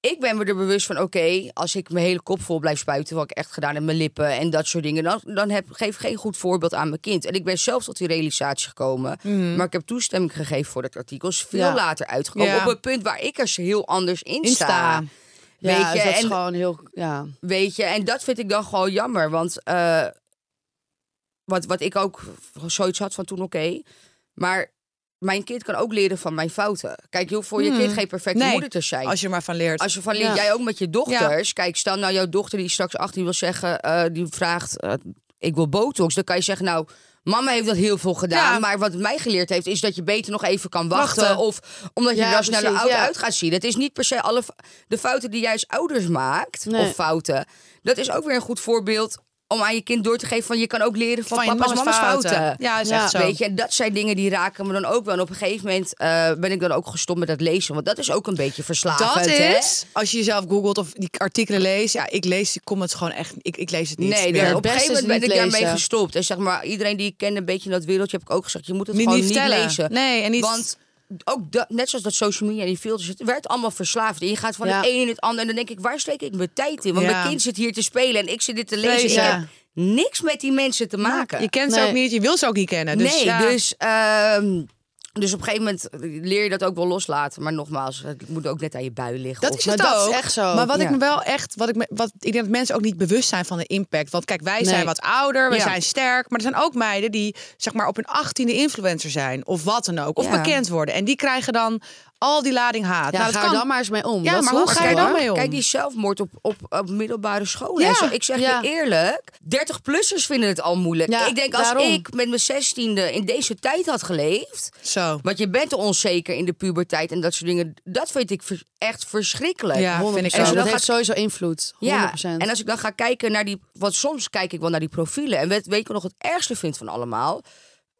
Speaker 6: ik ben me er bewust van, oké, als ik mijn hele kop vol blijf spuiten... wat ik echt gedaan heb, mijn lippen en dat soort dingen... dan, dan heb, geef ik geen goed voorbeeld aan mijn kind. En ik ben zelf tot die realisatie gekomen. Maar ik heb toestemming gegeven voor dat artikel. is veel
Speaker 4: Mhm. Ja.
Speaker 6: later uitgekomen.
Speaker 3: Ja.
Speaker 6: Op een punt waar ik er heel anders in,
Speaker 3: In
Speaker 6: sta.
Speaker 3: sta.
Speaker 6: Weet
Speaker 4: ja,
Speaker 6: je,
Speaker 4: dus dat is
Speaker 6: en-
Speaker 4: gewoon heel. Ja.
Speaker 6: Weet je, en dat vind ik dan gewoon jammer. Want eh, wat, wat ik ook zoiets had van toen, oké. maar mijn kind kan ook leren van mijn fouten. Kijk, je hoeft voor je kind geen perfecte
Speaker 3: Hmm. Nee,
Speaker 6: moeder te zijn.
Speaker 3: Als je er maar van leert.
Speaker 6: Als je van leert,
Speaker 4: Ja.
Speaker 6: jij ook met je dochters. Kijk, stel nou jouw dochter die straks 18 wil zeggen, eh, die vraagt, eh, ik wil botox. Dan kan je zeggen, nou, mama heeft dat heel veel gedaan.
Speaker 3: Ja.
Speaker 6: Maar wat het mij geleerd heeft, is dat je beter nog even kan wachten.
Speaker 3: Wachten.
Speaker 6: Of omdat je
Speaker 4: Ja,
Speaker 6: er dan sneller
Speaker 4: precies,
Speaker 6: oud
Speaker 4: ja.
Speaker 6: uit gaat zien. Het is niet per se alle f- de fouten die jij als ouders maakt,
Speaker 4: Nee.
Speaker 6: of fouten. Dat is ook weer een goed voorbeeld om aan je kind door te geven van je kan ook leren van,
Speaker 3: Van je
Speaker 6: papa's en mama's fouten.
Speaker 3: Ja, is
Speaker 4: Ja.
Speaker 3: echt zo.
Speaker 6: Weet je, en dat zijn dingen die raken me dan ook wel. En op een gegeven moment eh, ben ik dan ook gestopt met dat lezen. Want dat is ook een beetje verslavend.
Speaker 3: Dat
Speaker 6: hè?
Speaker 3: is, als je jezelf googelt of die artikelen leest. Ja, ik lees die comments gewoon echt, ik, ik lees het niet
Speaker 6: Nee,
Speaker 3: meer.
Speaker 6: daar-
Speaker 4: Het
Speaker 6: op een
Speaker 4: beste
Speaker 6: gegeven
Speaker 4: is
Speaker 6: moment ben ik
Speaker 4: niet
Speaker 6: daarmee
Speaker 4: lezen.
Speaker 6: gestopt. En zeg maar, iedereen die ik ken een beetje in dat wereldje, heb ik ook gezegd, je moet het
Speaker 3: Niet-
Speaker 6: gewoon
Speaker 3: niet
Speaker 6: niet
Speaker 3: vertellen.
Speaker 6: lezen.
Speaker 3: Nee, en niet-
Speaker 6: Want ook dat, net zoals dat social media en die filters, het werd allemaal verslaafd. En je gaat van
Speaker 4: Ja.
Speaker 6: het een in het ander en dan denk ik, waar steek ik mijn tijd in? Want
Speaker 3: Ja.
Speaker 6: mijn kind zit hier te spelen en ik zit dit te lezen.
Speaker 3: Lezen.
Speaker 6: Ik heb niks met die mensen te maken.
Speaker 3: Je kent ze
Speaker 4: Nee.
Speaker 3: ook niet, je wil ze ook niet kennen. Dus,
Speaker 6: nee,
Speaker 3: ja.
Speaker 6: dus... ehm, dus op een gegeven moment leer je dat ook wel loslaten. Maar nogmaals, het moet ook net aan je bui liggen.
Speaker 3: Dat
Speaker 6: Of-
Speaker 3: is
Speaker 4: Maar
Speaker 3: het
Speaker 4: dat is
Speaker 3: ook.
Speaker 4: echt zo,
Speaker 3: Maar wat
Speaker 6: ja.
Speaker 3: ik me wel echt, wat ik, me, wat, ik denk dat mensen ook niet bewust zijn van de impact. Want kijk, wij zijn wat ouder, wij
Speaker 6: Ja.
Speaker 3: zijn sterk. Maar er zijn ook meiden die zeg maar op hun achttiende influencer zijn. Of wat dan ook. Of
Speaker 6: Ja.
Speaker 3: bekend worden. En die krijgen dan al die lading haat.
Speaker 4: Ja,
Speaker 3: nou, dat
Speaker 4: ga
Speaker 3: kan.
Speaker 4: er dan maar eens mee om.
Speaker 3: Ja,
Speaker 4: dat is
Speaker 3: maar hoe
Speaker 4: lastig,
Speaker 3: ga je dan
Speaker 4: hoor.
Speaker 3: mee om?
Speaker 6: Kijk, die zelfmoord op, op, op middelbare scholen.
Speaker 3: Ja,
Speaker 6: En zo, ik zeg
Speaker 4: ja.
Speaker 6: je eerlijk, 30-plussers vinden het al moeilijk.
Speaker 4: Ja,
Speaker 6: ik denk, als
Speaker 4: daarom.
Speaker 6: ik met mijn zestiende in deze tijd had geleefd...
Speaker 3: Zo.
Speaker 6: Want je bent onzeker in de puberteit en dat soort dingen. Dat vind ik ver- echt verschrikkelijk.
Speaker 3: Ja, vind ik
Speaker 4: En
Speaker 3: ook.
Speaker 6: En als
Speaker 4: zo, dat
Speaker 6: je dan
Speaker 4: heeft
Speaker 6: gaat
Speaker 4: sowieso invloed. 100%.
Speaker 6: ja, en als ik dan ga kijken naar die... Want soms kijk ik wel naar die profielen. En weet, weet ik wat nog het ergste vind van allemaal?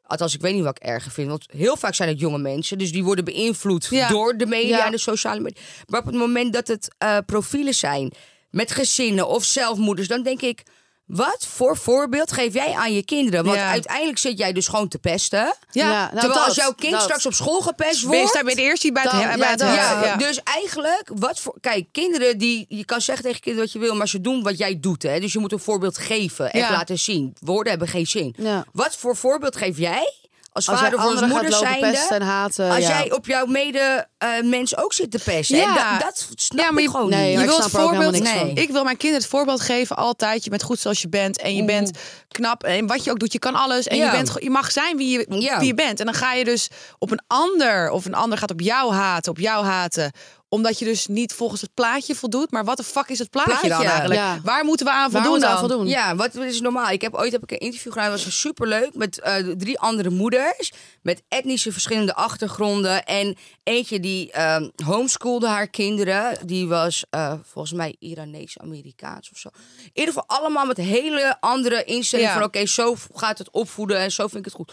Speaker 6: Althans, ik weet niet wat ik erger vind. Want heel vaak zijn het jonge mensen. Dus die worden beïnvloed
Speaker 3: Ja.
Speaker 6: door de media
Speaker 4: Ja.
Speaker 6: en de sociale media. Maar op het moment dat het eh, profielen zijn... met gezinnen of zelfmoeders... dan denk ik... Wat voor voorbeeld geef jij aan je kinderen? Want
Speaker 3: Ja.
Speaker 6: uiteindelijk zit jij dus gewoon te pesten.
Speaker 3: Ja,
Speaker 4: Ja, nou,
Speaker 6: Terwijl als
Speaker 4: dat,
Speaker 6: jouw kind
Speaker 4: dat.
Speaker 6: straks op school gepest
Speaker 3: Ben je
Speaker 6: wordt.
Speaker 3: staat bij de eerste die bij het,
Speaker 4: Dan-
Speaker 3: he- bij
Speaker 4: ja,
Speaker 3: het
Speaker 4: dan-
Speaker 3: he-
Speaker 6: Ja,
Speaker 3: ja.
Speaker 6: dus eigenlijk, wat voor. Kijk, kinderen die. Je kan zeggen tegen kinderen wat je wil, maar ze doen wat jij doet. Hè? Dus je moet een voorbeeld geven en
Speaker 3: Ja.
Speaker 6: laten zien. Woorden hebben geen zin.
Speaker 4: Ja.
Speaker 6: Wat voor voorbeeld geef jij als,
Speaker 4: Als jij
Speaker 6: vader of als
Speaker 4: anderen gaat
Speaker 6: moeder
Speaker 4: lopen
Speaker 6: zijnde?
Speaker 4: pesten en haten.
Speaker 6: als
Speaker 4: ja.
Speaker 6: jij op jouw mede eh, mens ook zit te pesten.
Speaker 3: Ja.
Speaker 6: En da- dat snap
Speaker 3: Ja, maar
Speaker 6: ik
Speaker 3: je-
Speaker 6: gewoon
Speaker 4: nee,
Speaker 6: niet.
Speaker 4: maar
Speaker 3: je
Speaker 4: ik
Speaker 3: wilt
Speaker 4: snap er ook helemaal
Speaker 3: voorbeeld.
Speaker 4: niks
Speaker 6: Nee.
Speaker 4: van.
Speaker 3: Ik wil mijn kinderen het voorbeeld geven altijd. Je bent goed zoals je bent en je bent knap en wat je ook doet, je kan alles en
Speaker 6: Ja.
Speaker 3: je, bent, go- je mag zijn wie je,
Speaker 6: Ja.
Speaker 3: wie je bent. En dan ga je dus op een ander of een ander gaat op jou haten, op jou haten omdat je dus niet volgens het plaatje voldoet. Maar wat de fuck is het plaatje, dan
Speaker 6: Plaatje,
Speaker 3: eigenlijk?
Speaker 4: ja.
Speaker 3: Waar moeten we aan
Speaker 4: Waar
Speaker 3: voldoen
Speaker 4: moet
Speaker 3: dan?
Speaker 4: aan voldoen?
Speaker 6: Ja, wat wat is normaal? Ik heb ooit heb ik een interview gedaan, dat was superleuk, met eh, drie andere moeders met etnische verschillende achtergronden en eentje die ehm homeschoolde haar kinderen, die was eh, volgens mij Iranees-Amerikaans of zo. In ieder geval allemaal met hele andere instellingen
Speaker 3: Ja.
Speaker 6: van oké, zo gaat het opvoeden en zo vind ik het goed.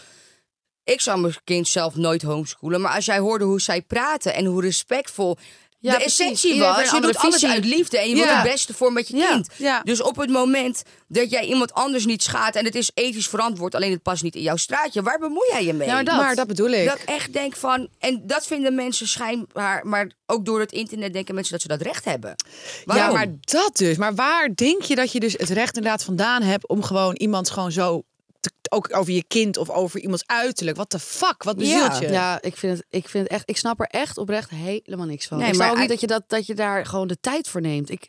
Speaker 6: Ik zou mijn kind zelf nooit homeschoolen, maar als jij hoorde hoe zij praten en hoe respectvol
Speaker 4: Ja,
Speaker 6: de
Speaker 4: precies.
Speaker 6: essentie
Speaker 4: Iedereen
Speaker 6: was,
Speaker 4: heeft
Speaker 6: je
Speaker 4: een
Speaker 6: doet
Speaker 4: andere
Speaker 6: alles
Speaker 4: visie.
Speaker 6: uit liefde en je wilt
Speaker 3: Ja.
Speaker 6: het beste voor met je
Speaker 4: Ja.
Speaker 6: kind.
Speaker 3: Ja.
Speaker 6: Dus op het moment dat jij iemand anders niet schaadt en het is ethisch verantwoord, alleen het past niet in jouw straatje, waar bemoei jij je mee?
Speaker 4: Ja, maar dat-
Speaker 3: Maar Nou, dat bedoel ik.
Speaker 6: Dat ik echt denk van, en dat vinden mensen schijnbaar, maar ook door het internet denken mensen dat ze dat recht hebben. Waarom?
Speaker 3: Ja, maar dat dus. Maar waar denk je dat je dus het recht inderdaad vandaan hebt om gewoon iemand gewoon zo te- ook over je kind of over iemands uiterlijk. Wat de fuck? Wat bezielt je?
Speaker 4: Ja, ik vind, het, ik vind het echt. Ik snap er echt oprecht helemaal niks van.
Speaker 6: Nee,
Speaker 4: ik snap
Speaker 6: maar
Speaker 4: ook niet
Speaker 6: ei-
Speaker 4: dat je, dat, dat je daar gewoon de tijd voor neemt. Ik,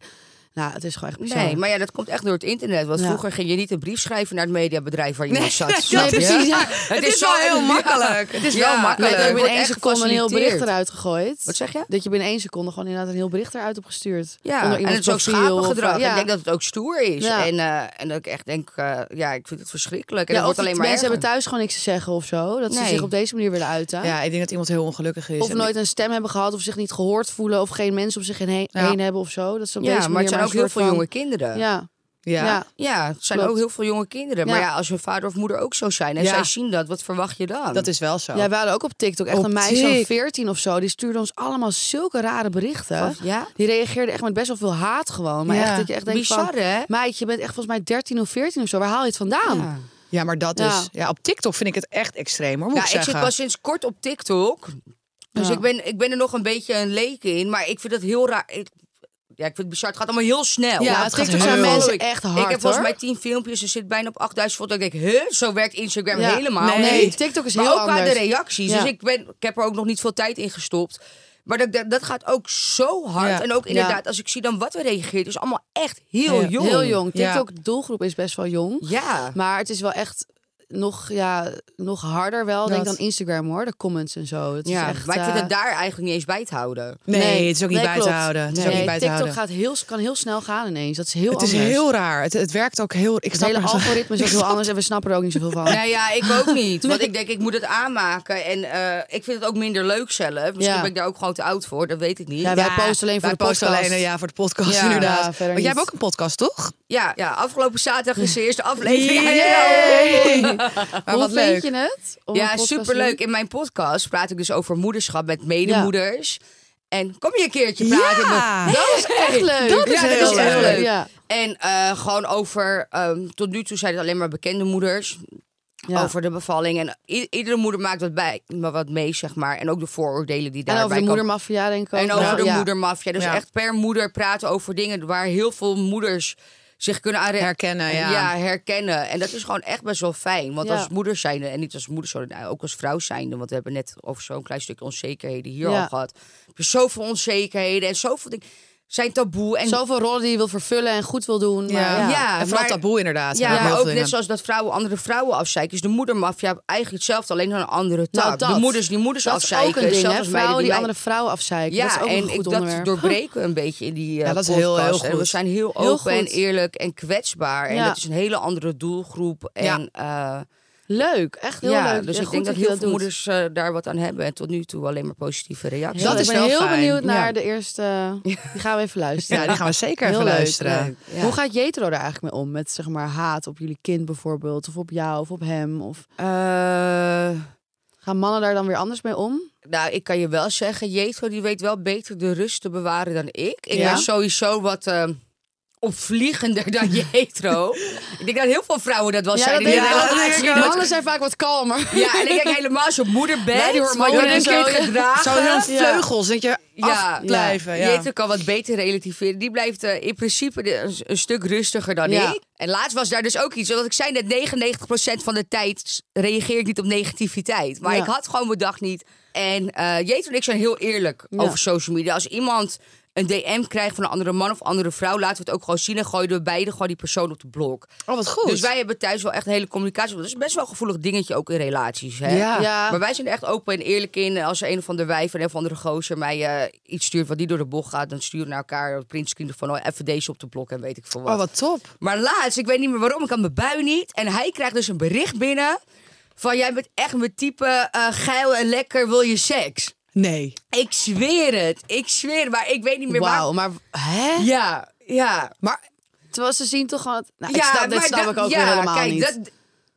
Speaker 4: nou, het is gewoon echt bizar.
Speaker 6: Nee, maar ja, dat komt echt door het internet. Want
Speaker 4: Ja.
Speaker 6: vroeger ging je niet een brief schrijven naar het mediabedrijf waar iemand zat. snap
Speaker 4: nee,
Speaker 6: je?
Speaker 4: precies, ja.
Speaker 6: Het,
Speaker 3: is wel
Speaker 6: zo-
Speaker 3: heel
Speaker 6: Ja.
Speaker 3: makkelijk. Het is wel makkelijk.
Speaker 6: Het
Speaker 4: dat je
Speaker 6: wordt
Speaker 4: binnen één
Speaker 6: echt
Speaker 4: seconde een heel bericht
Speaker 6: gefaciliteerd.
Speaker 4: eruit gegooid.
Speaker 6: Wat zeg je?
Speaker 4: Dat je binnen één seconde gewoon inderdaad een heel bericht eruit hebt gestuurd.
Speaker 6: Ja,
Speaker 4: Onder
Speaker 6: en het
Speaker 4: iemands
Speaker 6: is ook
Speaker 4: profiel of- eh,
Speaker 6: schapengedrag.
Speaker 4: ja.
Speaker 6: Ik denk dat het ook stoer is.
Speaker 4: Ja.
Speaker 6: En, eh, en dat ik echt denk, eh, ja, ik vind het verschrikkelijk. En
Speaker 4: Ja,
Speaker 6: dat
Speaker 4: of
Speaker 6: wordt alleen
Speaker 4: die
Speaker 6: maar
Speaker 4: mensen hebben
Speaker 6: erger.
Speaker 4: thuis gewoon niks te zeggen of zo. Dat ze
Speaker 6: Nee.
Speaker 4: zich op deze manier willen uiten.
Speaker 3: Ja, ik denk dat iemand heel ongelukkig is.
Speaker 4: Of
Speaker 3: En-
Speaker 4: nooit een stem hebben gehad, of zich niet gehoord voelen, of geen mensen om zich heen, heen
Speaker 3: Ja.
Speaker 4: hebben of zo. Dat ze op
Speaker 6: Ja,
Speaker 4: deze
Speaker 6: maar
Speaker 4: manier
Speaker 6: het zijn ook
Speaker 4: een
Speaker 6: heel
Speaker 4: soort
Speaker 6: veel
Speaker 4: van-
Speaker 6: jonge kinderen. Ja.
Speaker 4: Ja,
Speaker 3: Ja.
Speaker 4: ja.
Speaker 6: het zijn
Speaker 4: Klopt.
Speaker 6: ook heel veel jonge kinderen. Maar
Speaker 4: Ja.
Speaker 6: ja, als hun vader of moeder ook zo zijn en
Speaker 3: Ja.
Speaker 6: zij zien dat, wat verwacht je dan?
Speaker 3: dat is wel zo.
Speaker 4: Ja, we hadden ook op TikTok echt
Speaker 3: Op
Speaker 4: een meisje van
Speaker 3: Tik.
Speaker 4: 14 of zo. Die stuurde ons allemaal zulke rare berichten.
Speaker 6: Van- ja?
Speaker 4: Die reageerde echt met best wel veel haat gewoon. Maar
Speaker 3: Ja.
Speaker 4: echt dat je echt denkt
Speaker 6: Bizar,
Speaker 4: van...
Speaker 6: hè?
Speaker 4: Meid, je bent echt volgens mij 13 of 14 of zo. Waar haal je het vandaan?
Speaker 6: Ja.
Speaker 3: Ja, maar dat
Speaker 4: Ja.
Speaker 3: dus. Ja, op TikTok vind ik het echt extreem hoor, moet
Speaker 6: Ja,
Speaker 3: ik
Speaker 6: ik
Speaker 3: zeggen.
Speaker 6: zit pas sinds kort op TikTok. Dus
Speaker 4: Ja.
Speaker 6: ik, ben, ik ben er nog een beetje een leek in. Maar ik vind dat heel raar. Ik, ja, ik vind het bizar. Het gaat allemaal heel snel.
Speaker 3: Ja,
Speaker 4: Nou,
Speaker 3: het gaat
Speaker 4: TikTok
Speaker 3: heel-
Speaker 4: zijn mensen
Speaker 6: Ik-
Speaker 4: echt hard,
Speaker 6: ik heb volgens mij
Speaker 4: hoor.
Speaker 6: tien filmpjes en zit bijna op 8000 volgers. Ik denk, huh? Zo werkt Instagram
Speaker 4: Ja.
Speaker 6: helemaal
Speaker 4: Nee,
Speaker 6: niet.
Speaker 4: TikTok is
Speaker 6: maar
Speaker 4: heel
Speaker 6: ook qua de
Speaker 4: anders.
Speaker 6: reacties.
Speaker 4: Ja.
Speaker 6: Dus ik, ben, ik heb er ook nog niet veel tijd in gestopt. Maar dat, dat, dat gaat ook zo hard.
Speaker 3: Ja.
Speaker 6: En ook inderdaad, als ik zie dan wat er reageert, is allemaal echt heel
Speaker 3: Ja.
Speaker 6: jong.
Speaker 4: Heel jong.
Speaker 3: Ja.
Speaker 4: TikTok doelgroep is best wel jong.
Speaker 6: Ja.
Speaker 4: Maar het is wel echt nog, ja, nog harder wel, denk ik,
Speaker 3: Dat.
Speaker 4: dan Instagram hoor. De comments en zo. Het
Speaker 6: ja.
Speaker 4: is echt,
Speaker 6: maar ik vind
Speaker 4: eh,
Speaker 6: het daar eigenlijk niet eens bij te houden.
Speaker 3: Nee, het is ook niet
Speaker 4: nee,
Speaker 3: bij te
Speaker 4: klopt.
Speaker 3: houden. Het is
Speaker 4: nee,
Speaker 3: ook niet bij te
Speaker 4: TikTok
Speaker 3: houden.
Speaker 4: Gaat heel, kan heel snel gaan ineens. Dat is heel
Speaker 3: het is
Speaker 4: anders.
Speaker 3: heel raar. Het, het werkt ook heel... Ik
Speaker 4: het
Speaker 3: snap
Speaker 4: hele
Speaker 3: er zo-
Speaker 4: algoritme is ook
Speaker 3: (laughs)
Speaker 4: heel anders en we snappen er ook niet zoveel van.
Speaker 6: Nou ja, ik ook niet.
Speaker 4: (laughs)
Speaker 6: Want ik denk, ik moet het aanmaken. En eh, ik vind het ook minder leuk zelf. Misschien
Speaker 4: Ja.
Speaker 6: ben ik daar ook gewoon te oud voor. Dat weet ik niet.
Speaker 4: Ja, wij posten alleen voor
Speaker 3: Wij
Speaker 4: de podcast.
Speaker 3: posten alleen eh, ja, voor de podcast,
Speaker 4: Ja, ja,
Speaker 3: inderdaad.
Speaker 4: verder
Speaker 3: Want jij
Speaker 4: niet.
Speaker 3: hebt ook een podcast, toch?
Speaker 6: Ja, ja, afgelopen zaterdag is de eerste aflevering.
Speaker 4: (laughs)
Speaker 3: Yay! maar
Speaker 4: Hoe vind
Speaker 3: wat leuk.
Speaker 4: je het? om een
Speaker 6: Ja,
Speaker 4: podcast te
Speaker 6: superleuk.
Speaker 4: doen?
Speaker 6: In mijn podcast praat ik dus over moederschap met medemoeders. En kom je een keertje praten?
Speaker 3: Ja!
Speaker 6: Dat is
Speaker 4: Echt leuk.
Speaker 3: Dat is
Speaker 6: ja,
Speaker 3: heel
Speaker 6: dat is echt
Speaker 3: leuk.
Speaker 6: leuk.
Speaker 4: Ja.
Speaker 6: En eh, gewoon over, ehm, tot nu toe zijn het alleen maar bekende moeders.
Speaker 4: Ja.
Speaker 6: Over de bevalling. En i- iedere moeder maakt wat, bij, maar wat mee, zeg maar. En ook de vooroordelen die
Speaker 4: En
Speaker 6: daarbij
Speaker 4: over de
Speaker 6: komen.
Speaker 4: moedermafia denk ik ook.
Speaker 6: En over
Speaker 4: wel.
Speaker 6: de
Speaker 4: Ja.
Speaker 6: moedermafia. Dus
Speaker 3: Ja.
Speaker 6: echt per moeder praten over dingen waar heel veel moeders zich kunnen aan
Speaker 3: Herkennen, ja.
Speaker 6: herkennen. En dat is gewoon echt best wel fijn. Want
Speaker 4: Nou Ja.
Speaker 6: als moeder zijnde, en niet als moeder zijnde, nou, ook als vrouw zijnde. Want we hebben net over zo'n klein stukje onzekerheden hier
Speaker 4: Ja.
Speaker 6: al gehad. Heb je zoveel onzekerheden en zoveel dingen zijn taboe. En
Speaker 4: Zoveel rollen die je wil vervullen en goed wil doen. Maar
Speaker 3: Ja,
Speaker 4: ja.
Speaker 6: Ja,
Speaker 3: en vooral
Speaker 6: maar-
Speaker 3: taboe inderdaad.
Speaker 6: ja,
Speaker 3: Heel
Speaker 6: maar
Speaker 3: veel
Speaker 6: ook
Speaker 3: dingen.
Speaker 6: net zoals dat vrouwen andere vrouwen afzeiken. Is de moedermafia eigenlijk hetzelfde, alleen dan een andere taal.
Speaker 4: Nou, dat.
Speaker 6: de moeders die moeders
Speaker 4: dat is
Speaker 6: afzeiken.
Speaker 4: ook een ding,
Speaker 6: zelfs
Speaker 4: hè?
Speaker 6: als meiden
Speaker 4: Vrouwen die,
Speaker 6: mij-
Speaker 4: andere vrouwen afzeiken.
Speaker 6: Ja,
Speaker 4: dat is ook
Speaker 6: en
Speaker 4: een goed
Speaker 6: ik,
Speaker 4: onderwerp.
Speaker 6: dat doorbreken we een beetje in die eh
Speaker 3: Ja, dat is heel-
Speaker 6: podcast.
Speaker 3: heel
Speaker 6: En we
Speaker 3: goed.
Speaker 6: zijn heel
Speaker 4: Heel
Speaker 6: open en
Speaker 4: goed.
Speaker 6: eerlijk en kwetsbaar. En
Speaker 4: Ja.
Speaker 6: dat is een hele andere doelgroep. En eh, ja,
Speaker 4: (laughs) Leuk, echt heel leuk.
Speaker 6: dus
Speaker 4: Ja,
Speaker 6: ik
Speaker 4: goed
Speaker 6: denk dat
Speaker 4: je
Speaker 6: heel
Speaker 4: dat
Speaker 6: veel
Speaker 4: doet.
Speaker 6: moeders eh, daar wat aan hebben. En tot nu toe alleen maar positieve reacties.
Speaker 3: Dat
Speaker 4: ik
Speaker 3: is
Speaker 4: ben
Speaker 3: wel
Speaker 4: heel
Speaker 3: fijn.
Speaker 4: benieuwd naar
Speaker 6: Ja.
Speaker 4: de eerste. Die gaan we even luisteren.
Speaker 3: Ja, die gaan we zeker
Speaker 4: Heel
Speaker 3: even
Speaker 4: leuk,
Speaker 3: luisteren.
Speaker 4: leuk.
Speaker 6: Ja.
Speaker 4: Hoe gaat Jetro er eigenlijk mee om? Met zeg maar haat op jullie kind bijvoorbeeld, of op jou, of op hem? Of
Speaker 6: Eh,
Speaker 4: gaan mannen daar dan weer anders mee om?
Speaker 6: nou, ik kan je wel zeggen, Jetro die weet wel beter de rust te bewaren dan ik. Ik
Speaker 4: Ja.
Speaker 6: ben sowieso wat eh,
Speaker 4: (laughs)
Speaker 6: opvliegender dan je hetero. ik denk dat heel veel vrouwen dat wel
Speaker 4: Ja,
Speaker 6: zijn.
Speaker 4: dat
Speaker 6: die
Speaker 4: denk ik
Speaker 6: (laughs) denken,
Speaker 4: wel.
Speaker 6: "Ah,
Speaker 4: Die
Speaker 6: zie je dat?"
Speaker 4: mannen zijn vaak wat kalmer.
Speaker 6: Ja, en ik denk helemaal als je moeder bent.
Speaker 4: Ja, die hormonen
Speaker 6: word je
Speaker 4: en
Speaker 6: een keer
Speaker 4: zo, ja.
Speaker 6: gedragen.
Speaker 3: Zo heel
Speaker 4: Ja.
Speaker 3: vleugels, dat je
Speaker 6: ja,
Speaker 3: afblijven. Ja.
Speaker 6: Je hetero kan wat beter relativeren. Die blijft eh, in principe de- een, een stuk rustiger dan
Speaker 4: Ja.
Speaker 6: ik. En laatst was daar dus ook iets. Want ik zei net, 99% van de tijd reageer ik niet op negativiteit. Maar
Speaker 4: Ja.
Speaker 6: ik had gewoon mijn dag niet. En eh Jeet en ik zijn heel eerlijk
Speaker 4: Ja.
Speaker 6: over social media. Als iemand een DM krijgt van een andere man of andere vrouw... laten we het ook gewoon zien en gooien we beide gewoon die persoon op de blok.
Speaker 3: Oh, wat goed.
Speaker 6: Dus wij hebben thuis wel echt een hele communicatie. Dat is best wel een gevoelig dingetje ook in relaties. Hè?
Speaker 3: Ja.
Speaker 4: Ja.
Speaker 6: Maar wij zijn er echt open en eerlijk in. En Als er een of ander wijf en een of andere gozer mij eh, iets stuurt wat die door de bocht gaat, dan sturen we naar elkaar een printscreen van oh, even deze op de blok en weet ik veel wat.
Speaker 3: Oh, wat top.
Speaker 6: Maar laatst, ik weet niet meer waarom, ik had mijn bui niet. En hij krijgt dus een bericht binnen van jij bent echt mijn type eh, geil en lekker, wil je seks?
Speaker 3: Nee.
Speaker 6: Ik zweer het, ik zweer het, maar ik weet niet meer
Speaker 4: Wauw,
Speaker 6: waar.
Speaker 4: maar hè?
Speaker 6: Ja, ja.
Speaker 3: Maar
Speaker 4: Terwijl ze zien toch gewoon... Nou, ik
Speaker 6: ja,
Speaker 4: snap, dit
Speaker 6: maar
Speaker 4: snap
Speaker 6: dat-
Speaker 4: ik ook
Speaker 6: ja,
Speaker 4: weer helemaal
Speaker 6: kijk,
Speaker 4: niet.
Speaker 6: Dat,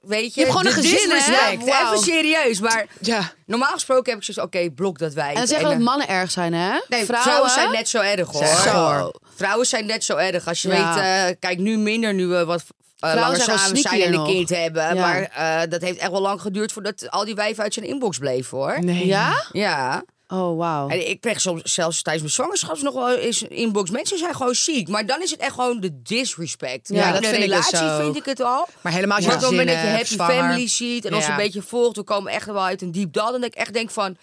Speaker 6: weet je,
Speaker 3: hebt gewoon
Speaker 6: de
Speaker 3: een gezin, hè?
Speaker 6: disrespect.
Speaker 4: Wauw.
Speaker 6: Even serieus, maar
Speaker 3: ja,
Speaker 6: normaal gesproken heb ik zoiets, oké, blok dat wij. eh,
Speaker 4: En dan zeggen we dat mannen erg zijn, hè?
Speaker 6: Nee, vrouwen, zijn net zo erg hoor.
Speaker 4: Zeg hoor.
Speaker 6: Vrouwen zijn net zo erg. Als je
Speaker 4: Ja.
Speaker 6: weet, eh, kijk nu minder nu we wat eh langer
Speaker 4: zijn wel
Speaker 6: samen zijn
Speaker 4: sneakier
Speaker 6: en een
Speaker 4: nog.
Speaker 6: kind hebben.
Speaker 4: Ja.
Speaker 6: Maar eh, dat heeft echt wel lang geduurd voordat al die wijven uit zijn inbox bleven hoor.
Speaker 3: nee.
Speaker 4: Ja?
Speaker 6: Ja,
Speaker 4: Oh, wauw.
Speaker 6: en ik kreeg soms zelfs tijdens mijn zwangerschap nog wel eens een inbox. Mensen zijn gewoon ziek, maar dan is het echt gewoon de disrespect.
Speaker 4: Ja,
Speaker 6: in
Speaker 3: dat
Speaker 6: een
Speaker 3: vind ik dus
Speaker 6: relatie
Speaker 3: ook.
Speaker 6: vind ik het al.
Speaker 3: Maar helemaal als je
Speaker 6: Maar op het
Speaker 3: gezin
Speaker 6: moment dat je
Speaker 3: hebt,
Speaker 6: happy
Speaker 3: zwanger.
Speaker 6: family ziet en ons
Speaker 3: Ja.
Speaker 6: een beetje volgt, we komen echt wel uit een diep dal. En dat ik echt denk van,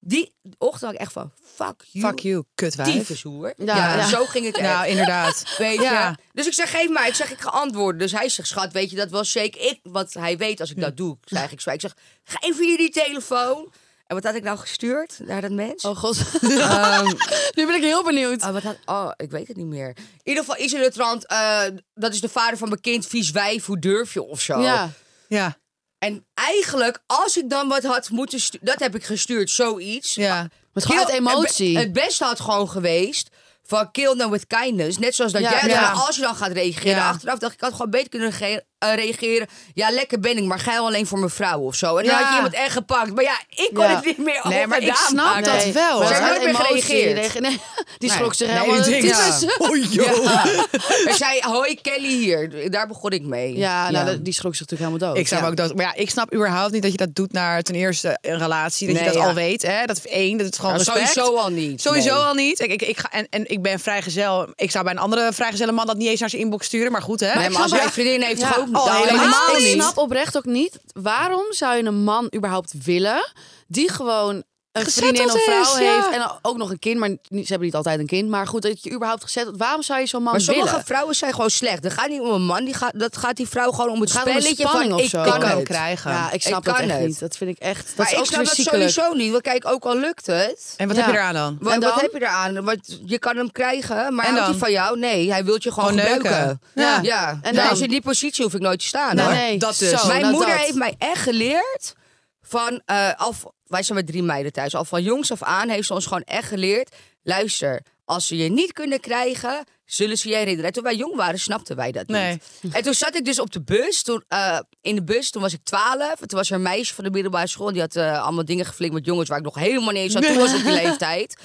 Speaker 6: die ochtend had ik echt van, fuck you.
Speaker 3: Fuck you, kutwijf.
Speaker 6: Tyfushoer.
Speaker 4: Ja,
Speaker 6: Ja,
Speaker 4: ja.
Speaker 6: zo ging het echt.
Speaker 3: (laughs) Nou,
Speaker 6: (laughs)
Speaker 3: inderdaad.
Speaker 6: Weet je?
Speaker 3: Ja.
Speaker 6: Dus ik zeg, geef mij. Ik zeg, ik ga antwoorden. Dus hij zegt, schat, weet je dat wel zeker? Ik, want hij weet als ik dat doe, krijg ik zwaar. Ik zeg, geef hier die telefoon. En wat had ik nou gestuurd naar dat mens?
Speaker 4: Oh, god.
Speaker 6: (laughs)
Speaker 4: (laughs) nu ben ik heel benieuwd.
Speaker 6: Ehm, Oh, wat had- oh, ik weet het niet meer. In ieder geval is in het rand, eh, dat is de vader van mijn kind, vies wijf, hoe durf je of zo.
Speaker 4: Ja.
Speaker 3: Ja,
Speaker 6: En eigenlijk, als ik dan wat had moeten sturen, dat heb ik gestuurd, zoiets.
Speaker 3: ja.
Speaker 4: Met gewoon uit
Speaker 6: Kill-
Speaker 4: emotie.
Speaker 6: Het, be- het beste had gewoon geweest van kill them with kindness. Net zoals dat
Speaker 4: Ja,
Speaker 6: jij. dat
Speaker 4: ja.
Speaker 6: maar Als je dan gaat reageren
Speaker 3: Ja.
Speaker 6: achteraf, dacht ik, ik had gewoon beter kunnen rege- eh, reageren. Ja, lekker ben ik, maar geil alleen voor mijn vrouw of zo. En dan
Speaker 4: Ja.
Speaker 6: had je iemand echt gepakt. Maar ja, ik kon
Speaker 4: Ja.
Speaker 6: het niet meer
Speaker 3: Nee, maar ik
Speaker 6: ongedaan
Speaker 3: snap
Speaker 6: maken.
Speaker 3: dat
Speaker 4: Nee,
Speaker 3: wel,
Speaker 4: maar
Speaker 3: hoor.
Speaker 4: het is
Speaker 6: Ze hebben
Speaker 4: uit
Speaker 6: nooit meer
Speaker 4: emotie.
Speaker 6: gereageerd.
Speaker 4: Die regen- (laughs) nee, die
Speaker 6: Nee.
Speaker 4: schrok zich
Speaker 3: Nee,
Speaker 4: helemaal.
Speaker 3: die denkt,
Speaker 4: (laughs) Ja,
Speaker 3: Oh, joh.
Speaker 6: Ik zei, hoi Kelly hier. Daar begon ik mee.
Speaker 4: ja nou, dat- die schrok zich natuurlijk helemaal dood.
Speaker 3: Ik snap
Speaker 4: Ja.
Speaker 3: ook dat. Maar ja, ik snap überhaupt niet dat je dat doet naar ten eerste een relatie. Dat
Speaker 6: Nee,
Speaker 3: je dat
Speaker 6: ja.
Speaker 3: al weet. Hè? Dat is één. Dat het gewoon
Speaker 6: Nou,
Speaker 3: respect.
Speaker 6: sowieso al niet,
Speaker 3: Sowieso
Speaker 6: nee.
Speaker 3: al niet. Ik, ik, ik ga, en, en ik ben vrijgezel. Ik zou bij een andere vrijgezelle man dat niet eens naar zijn inbox sturen. Maar goed, hè?
Speaker 6: Nee, maar als mijn vriendin heeft toch ook
Speaker 3: Oh,
Speaker 6: Nou,
Speaker 3: helemaal
Speaker 4: Maar
Speaker 3: niet.
Speaker 4: Ik snap oprecht ook niet. Waarom zou je een man überhaupt willen die gewoon een
Speaker 3: Gezetteld
Speaker 4: vriendin of vrouw
Speaker 3: is, ja.
Speaker 4: heeft en ook nog een kind, maar niet- ze hebben niet altijd een kind. Maar goed, dat je überhaupt gezet. Waarom zou je zo'n man
Speaker 6: Maar sommige
Speaker 4: willen?
Speaker 6: vrouwen zijn gewoon slecht. Dat gaat niet om een man. Die gaat, dat gaat die vrouw gewoon om het
Speaker 4: Het gaat om de
Speaker 6: spelletje
Speaker 4: spanning
Speaker 6: van
Speaker 4: of
Speaker 6: ik
Speaker 4: zo.
Speaker 6: kan
Speaker 3: Ik kan
Speaker 6: het.
Speaker 3: krijgen.
Speaker 4: Ja, ik snap
Speaker 6: Ik
Speaker 4: dat
Speaker 6: kan
Speaker 4: echt
Speaker 6: het.
Speaker 4: niet. Dat vind ik echt. Dat
Speaker 6: Maar
Speaker 4: is
Speaker 6: ik
Speaker 4: ook
Speaker 6: snap
Speaker 4: weer
Speaker 6: dat
Speaker 4: ziekelijk.
Speaker 6: sowieso niet. Want kijk, ook al lukt het.
Speaker 3: En wat
Speaker 4: Ja.
Speaker 3: heb je eraan dan?
Speaker 6: Wat,
Speaker 4: En
Speaker 6: wat
Speaker 4: dan?
Speaker 6: heb je eraan? Want je kan hem krijgen, maar
Speaker 3: En
Speaker 6: houdt hij
Speaker 3: dan?
Speaker 6: van jou? Nee, hij wil je gewoon
Speaker 3: Gewoon neuken.
Speaker 6: gebruiken.
Speaker 3: Ja.
Speaker 6: Ja.
Speaker 4: En
Speaker 6: En
Speaker 4: dan?
Speaker 6: dus in die positie hoef ik nooit te staan.
Speaker 4: Nee,
Speaker 6: hoor.
Speaker 4: nee.
Speaker 3: dat dus.
Speaker 4: Zo,
Speaker 6: Mijn
Speaker 4: nou
Speaker 6: moeder
Speaker 4: dat.
Speaker 6: heeft mij echt geleerd van... eh, al, v- wij zijn met drie meiden thuis. Al van jongs af aan heeft ze ons gewoon echt geleerd... Luister, als ze je niet kunnen krijgen, zullen ze je herinneren. En toen wij jong waren, snapten wij dat
Speaker 3: Nee.
Speaker 6: niet. En toen zat ik dus op de bus. Toen, eh, in de bus, toen was ik 12. Toen was er een meisje van de middelbare school. en Die had eh, allemaal dingen geflikt met jongens waar ik nog helemaal niet eens aan toe was op die leeftijd.